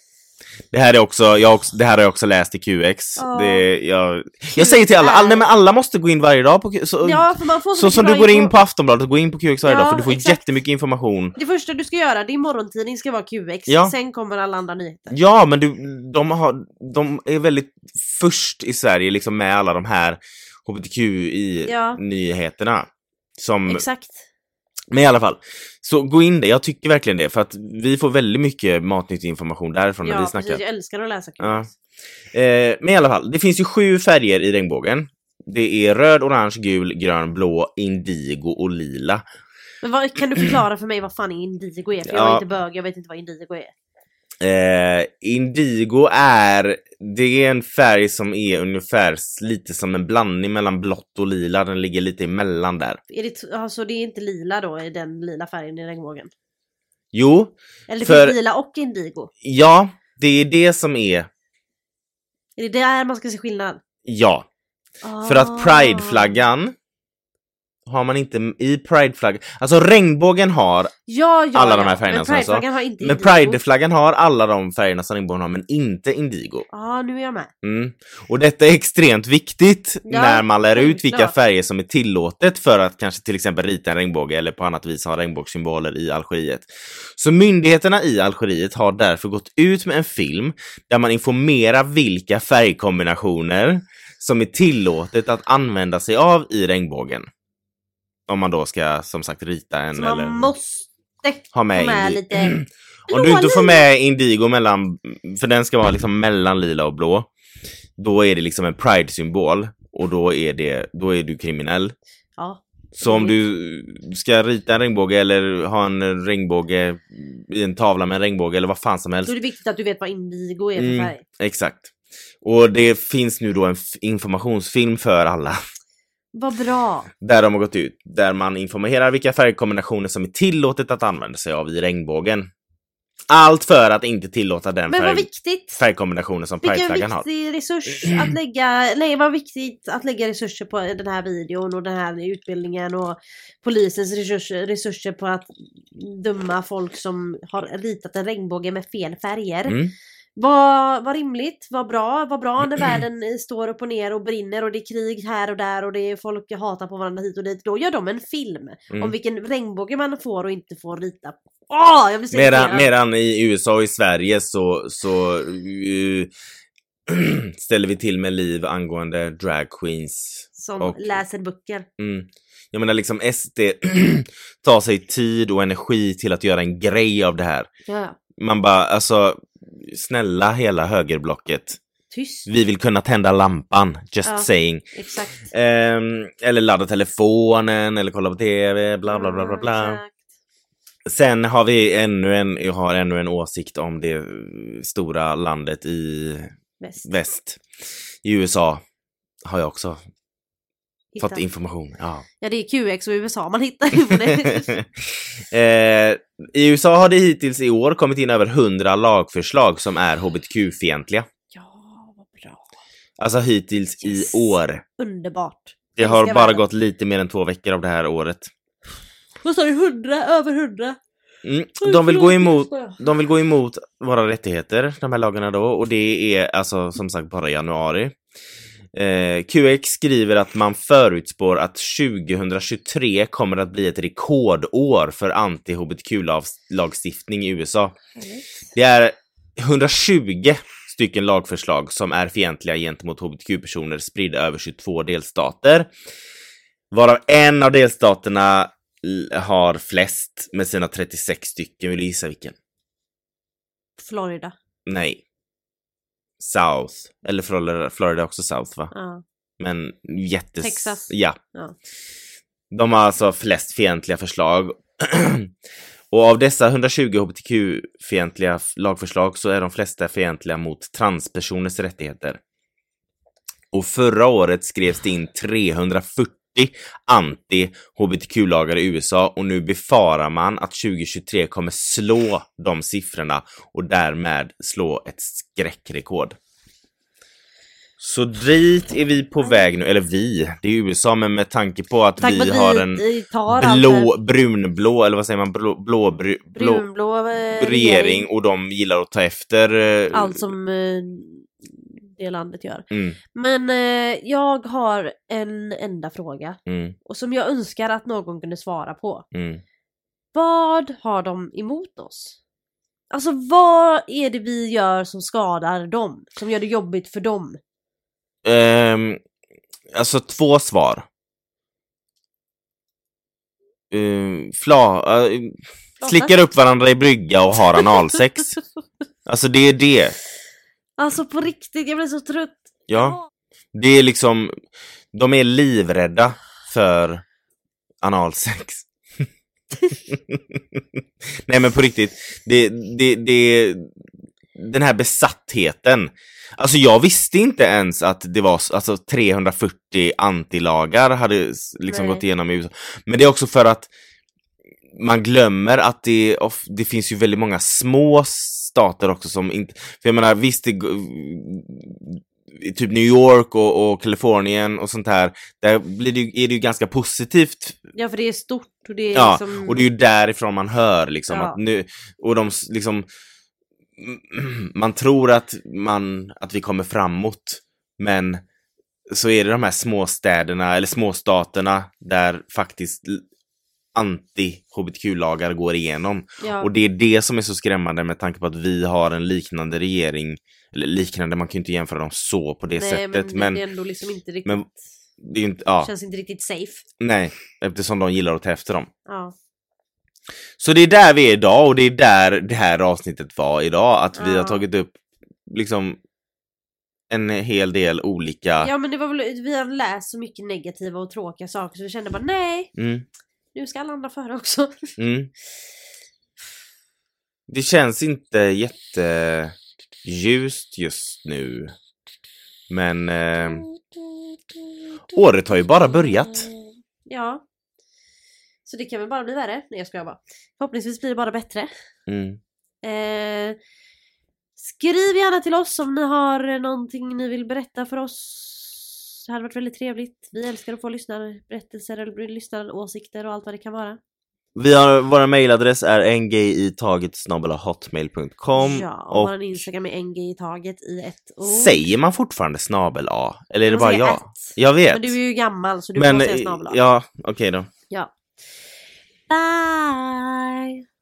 Speaker 1: Det här, är också, jag har också, det här har jag också läst i QX.
Speaker 2: Ja.
Speaker 1: Det, jag, jag säger till alla, all, nej, men alla måste gå in varje dag på Q- så,
Speaker 2: Ja, för man får
Speaker 1: så
Speaker 2: mycket
Speaker 1: som du
Speaker 2: bra
Speaker 1: går in
Speaker 2: info.
Speaker 1: på Aftonbladet, gå in på QX varje
Speaker 2: Ja,
Speaker 1: dag för du får
Speaker 2: exakt.
Speaker 1: jättemycket information.
Speaker 2: Det första du ska göra, din morgontidning ska vara QX,
Speaker 1: Ja.
Speaker 2: sen kommer alla andra nyheter.
Speaker 1: Ja, men du, de, har, de är väldigt först i Sverige liksom med alla de här
Speaker 2: Ja.
Speaker 1: hbtqi-nyheterna. Som,
Speaker 2: Exakt.
Speaker 1: men i alla fall, så gå in där. Jag tycker verkligen det, för att vi får väldigt mycket matnyttig information därifrån när
Speaker 2: Ja,
Speaker 1: vi
Speaker 2: precis,
Speaker 1: snackar.
Speaker 2: jag älskar att läsa QX.
Speaker 1: Ja. Eh, men i alla fall, det finns ju sju färger i regnbågen. Det är röd, orange, gul, grön, blå, indigo och lila.
Speaker 2: Men vad, kan du förklara för mig vad fan indigo är? För
Speaker 1: Ja.
Speaker 2: jag är inte bög, jag vet inte vad indigo är.
Speaker 1: Eh, indigo är, det är en färg som är ungefär s- lite som en blandning mellan blått och lila. Den ligger lite emellan där.
Speaker 2: är det t- alltså, det är inte lila då, i den lila färgen i regnbågen?
Speaker 1: Jo,
Speaker 2: Eller det
Speaker 1: För-
Speaker 2: finns lila och indigo?
Speaker 1: ja, det är det som är,
Speaker 2: Är det där man ska se skillnad?
Speaker 1: ja. För
Speaker 2: Ah.
Speaker 1: att prideflaggan har man inte i prideflaggan, alltså regnbågen har
Speaker 2: ja, ja,
Speaker 1: alla
Speaker 2: ja.
Speaker 1: de här färgerna
Speaker 2: men
Speaker 1: som jag sa.
Speaker 2: prideflaggan har inte
Speaker 1: Men
Speaker 2: indigo.
Speaker 1: prideflaggan har alla de färgerna som regnbågen har, men inte indigo.
Speaker 2: Ja, nu är jag med.
Speaker 1: Mm. Och detta är extremt viktigt
Speaker 2: Ja,
Speaker 1: när man lär ut vilka
Speaker 2: självklart.
Speaker 1: färger som är tillåtet för att kanske till exempel rita en regnbåge eller på annat vis ha regnbågssymboler i Algeriet. Så myndigheterna i Algeriet har därför gått ut med en film där man informerar vilka färgkombinationer som är tillåtet att använda sig av i regnbågen. Om man då ska som sagt rita en
Speaker 2: Så
Speaker 1: eller
Speaker 2: man måste
Speaker 1: ha med,
Speaker 2: få med
Speaker 1: indi-
Speaker 2: lite
Speaker 1: Om du inte
Speaker 2: blå
Speaker 1: får med indigo mellan, för den ska vara liksom mellan lila och blå, då är det liksom en pride-symbol och då är, det, då är du kriminell.
Speaker 2: Ja.
Speaker 1: Så om du ska rita en regnbåge eller ha en regnbåge i en tavla med en regnbåge eller vad fan som helst.
Speaker 2: Då är det viktigt att du vet vad indigo är för
Speaker 1: Mm.
Speaker 2: färg.
Speaker 1: Exakt. Och det finns nu då en f- informationsfilm för alla
Speaker 2: Vad bra.
Speaker 1: där de har gått ut, där man informerar vilka färgkombinationer som är tillåtet att använda sig av i regnbågen. Allt för att inte tillåta den
Speaker 2: Men vad
Speaker 1: färg,
Speaker 2: viktigt.
Speaker 1: färgkombinationen som
Speaker 2: Vilken
Speaker 1: prideflaggan har.
Speaker 2: viktig resurs att lägga, nej vad viktigt att lägga resurser på den här videon och den här utbildningen och polisens resurser, resurser på att döma folk som har ritat en regnbåge med fel färger.
Speaker 1: Mm.
Speaker 2: Vad, vad rimligt, vad bra, vad bra när världen eh, står upp och ner och brinner och det är krig här och där och det är folk hatar på varandra hit och dit. Då gör de en film
Speaker 1: Mm.
Speaker 2: om vilken regnbåge man får och inte får rita. Åh, jag blir så
Speaker 1: Medan,
Speaker 2: irriterad.
Speaker 1: medan i USA och i Sverige så, så eh, ställer vi till med liv angående drag queens.
Speaker 2: Som
Speaker 1: och-
Speaker 2: läser böcker.
Speaker 1: Mm. Jag menar liksom SD tar sig tid och energi till att göra en grej av det här.
Speaker 2: Ja, ja.
Speaker 1: Man bara, alltså snälla hela högerblocket.
Speaker 2: tyst.
Speaker 1: Vi vill kunna tända lampan, just
Speaker 2: Ja.
Speaker 1: saying.
Speaker 2: Exakt.
Speaker 1: Ehm, eller ladda telefonen eller kolla på TV, bla bla bla bla bla.
Speaker 2: Ja, exakt.
Speaker 1: Sen har vi ännu en, jag har ännu en åsikt om det eh, stora landet i
Speaker 2: Bäst.
Speaker 1: väst. I USA har jag också
Speaker 2: Hitta.
Speaker 1: fått information. Ja.
Speaker 2: Ja, det är QX och USA man hittar ju på det.
Speaker 1: eh, I USA har det hittills i år kommit in över 100 lagförslag som är hbtq-fientliga.
Speaker 2: ja, vad bra.
Speaker 1: Alltså hittills
Speaker 2: Yes.
Speaker 1: i år.
Speaker 2: Underbart.
Speaker 1: Det har
Speaker 2: Älskar
Speaker 1: bara
Speaker 2: världen.
Speaker 1: gått lite mer än två veckor av det här året.
Speaker 2: Vad sa du? Hundra? Över hundra?
Speaker 1: Mm.
Speaker 2: Oj,
Speaker 1: De vill gå
Speaker 2: förlåt, jag
Speaker 1: emot
Speaker 2: skojar.
Speaker 1: De vill gå emot våra rättigheter, de här lagarna då, och det är alltså som sagt bara januari. Eh, QX skriver att man förutspår att 2023 kommer att bli ett rekordår för anti-hbtq-lagstiftning i USA. Det är 120 stycken lagförslag som är fientliga gentemot hbtq-personer spridda över 22 delstater. Varav en av delstaterna l- har flest med sina 36 stycken. Vill du gissa vilken?
Speaker 2: Florida.
Speaker 1: Nej. South. Eller Florida, Florida är också South va?
Speaker 2: Ja.
Speaker 1: Men jättes...
Speaker 2: Texas.
Speaker 1: Ja.
Speaker 2: Ja.
Speaker 1: De har alltså flest fientliga förslag. Och av dessa 120 hbtq-fientliga f- lagförslag så är de flesta fientliga mot transpersoners rättigheter. Och förra året skrevs det in 340 anti-hbtq-lagar i USA och nu befarar man att 2023 kommer slå de siffrorna och därmed slå ett skräckrekord. Så dit är vi på väg nu, eller vi, det är USA, men med tanke på att
Speaker 2: Tack
Speaker 1: vi
Speaker 2: vare att
Speaker 1: har
Speaker 2: ni-
Speaker 1: en
Speaker 2: ni tar allt
Speaker 1: blå, brunblå, eller vad säger man, blå, blå, bru,
Speaker 2: det
Speaker 1: blå
Speaker 2: brunblå eh,
Speaker 1: regering och de gillar att ta efter. eh,
Speaker 2: Allt som eh, det landet gör.
Speaker 1: Mm,
Speaker 2: Men eh, jag har en enda fråga.
Speaker 1: mm,
Speaker 2: Och som jag önskar att någon kunde svara på.
Speaker 1: mm.
Speaker 2: Vad har de emot oss? Alltså vad är det vi gör som skadar dem? Som gör det jobbigt för dem?
Speaker 1: Ehm, alltså två svar. Uh, fla, eh, slickar upp varandra i brygga och har analsex. alltså det är det.
Speaker 2: Alltså på riktigt, jag blir så trött.
Speaker 1: Ja. Det är liksom, de är livrädda för analsex. Nej men på riktigt, det, det, det, den här besattheten. Alltså jag visste inte ens att det var s- alltså, 340 antilagar hade s- liksom
Speaker 2: Nej.
Speaker 1: gått igenom i USA. Men det är också för att man glömmer att det, of, det finns ju väldigt många små stater också som inte, för jag menar visst, det, g- i typ New York och, och Kalifornien och sånt här, där blir det, ju- är det ju ganska positivt
Speaker 2: Ja för det är stort och det är
Speaker 1: Ja,
Speaker 2: liksom...
Speaker 1: och det är ju därifrån man hör liksom
Speaker 2: Ja.
Speaker 1: att nu, och de s- liksom, man tror att man, att vi kommer framåt, men så är det de här småstäderna eller småstaterna där faktiskt l- anti-hbtq-lagar går igenom.
Speaker 2: ja.
Speaker 1: Och det är det som är så skrämmande med tanke på att vi har en liknande regering, eller liknande, man kan ju inte jämföra dem så på det
Speaker 2: Nej,
Speaker 1: sättet,
Speaker 2: men,
Speaker 1: men
Speaker 2: det är ändå liksom inte riktigt...
Speaker 1: men- det är ju inte, ja,
Speaker 2: Känns inte riktigt safe.
Speaker 1: nej, eftersom de gillar att ta efter dem.
Speaker 2: Ja.
Speaker 1: Så det är där vi är idag och det är där det här avsnittet var idag. Att vi
Speaker 2: Ja.
Speaker 1: har tagit upp liksom en hel del olika...
Speaker 2: ja men det var väl, vi har läst så mycket negativa och tråkiga saker så vi kände bara nej,
Speaker 1: Mm,
Speaker 2: nu ska alla andra få höra också.
Speaker 1: mm. Det känns inte jätteljust just nu. Men eh, året har ju bara börjat.
Speaker 2: Ja. Så det kan väl bara bli värre? Nej jag skojar bara. Förhoppningsvis blir det bara bättre.
Speaker 1: Mm.
Speaker 2: Eh, skriv gärna till oss om ni har någonting ni vill berätta för oss. Det hade varit väldigt trevligt. Vi älskar att få lyssnarberättelser eller lyssnaråsikter och allt vad det kan vara.
Speaker 1: Vi har, vår mailadress är ngitaget.hotmail.com
Speaker 2: ja, och,
Speaker 1: och
Speaker 2: vår Instagram är NG i taget i ett ord.
Speaker 1: säger man fortfarande snabel A? Eller är det
Speaker 2: Man
Speaker 1: bara
Speaker 2: säger
Speaker 1: jag?
Speaker 2: ett.
Speaker 1: Jag vet.
Speaker 2: Men du är ju gammal så du
Speaker 1: Men,
Speaker 2: får säga
Speaker 1: eh,
Speaker 2: snabel
Speaker 1: ja, okej då.
Speaker 2: ja. Bye!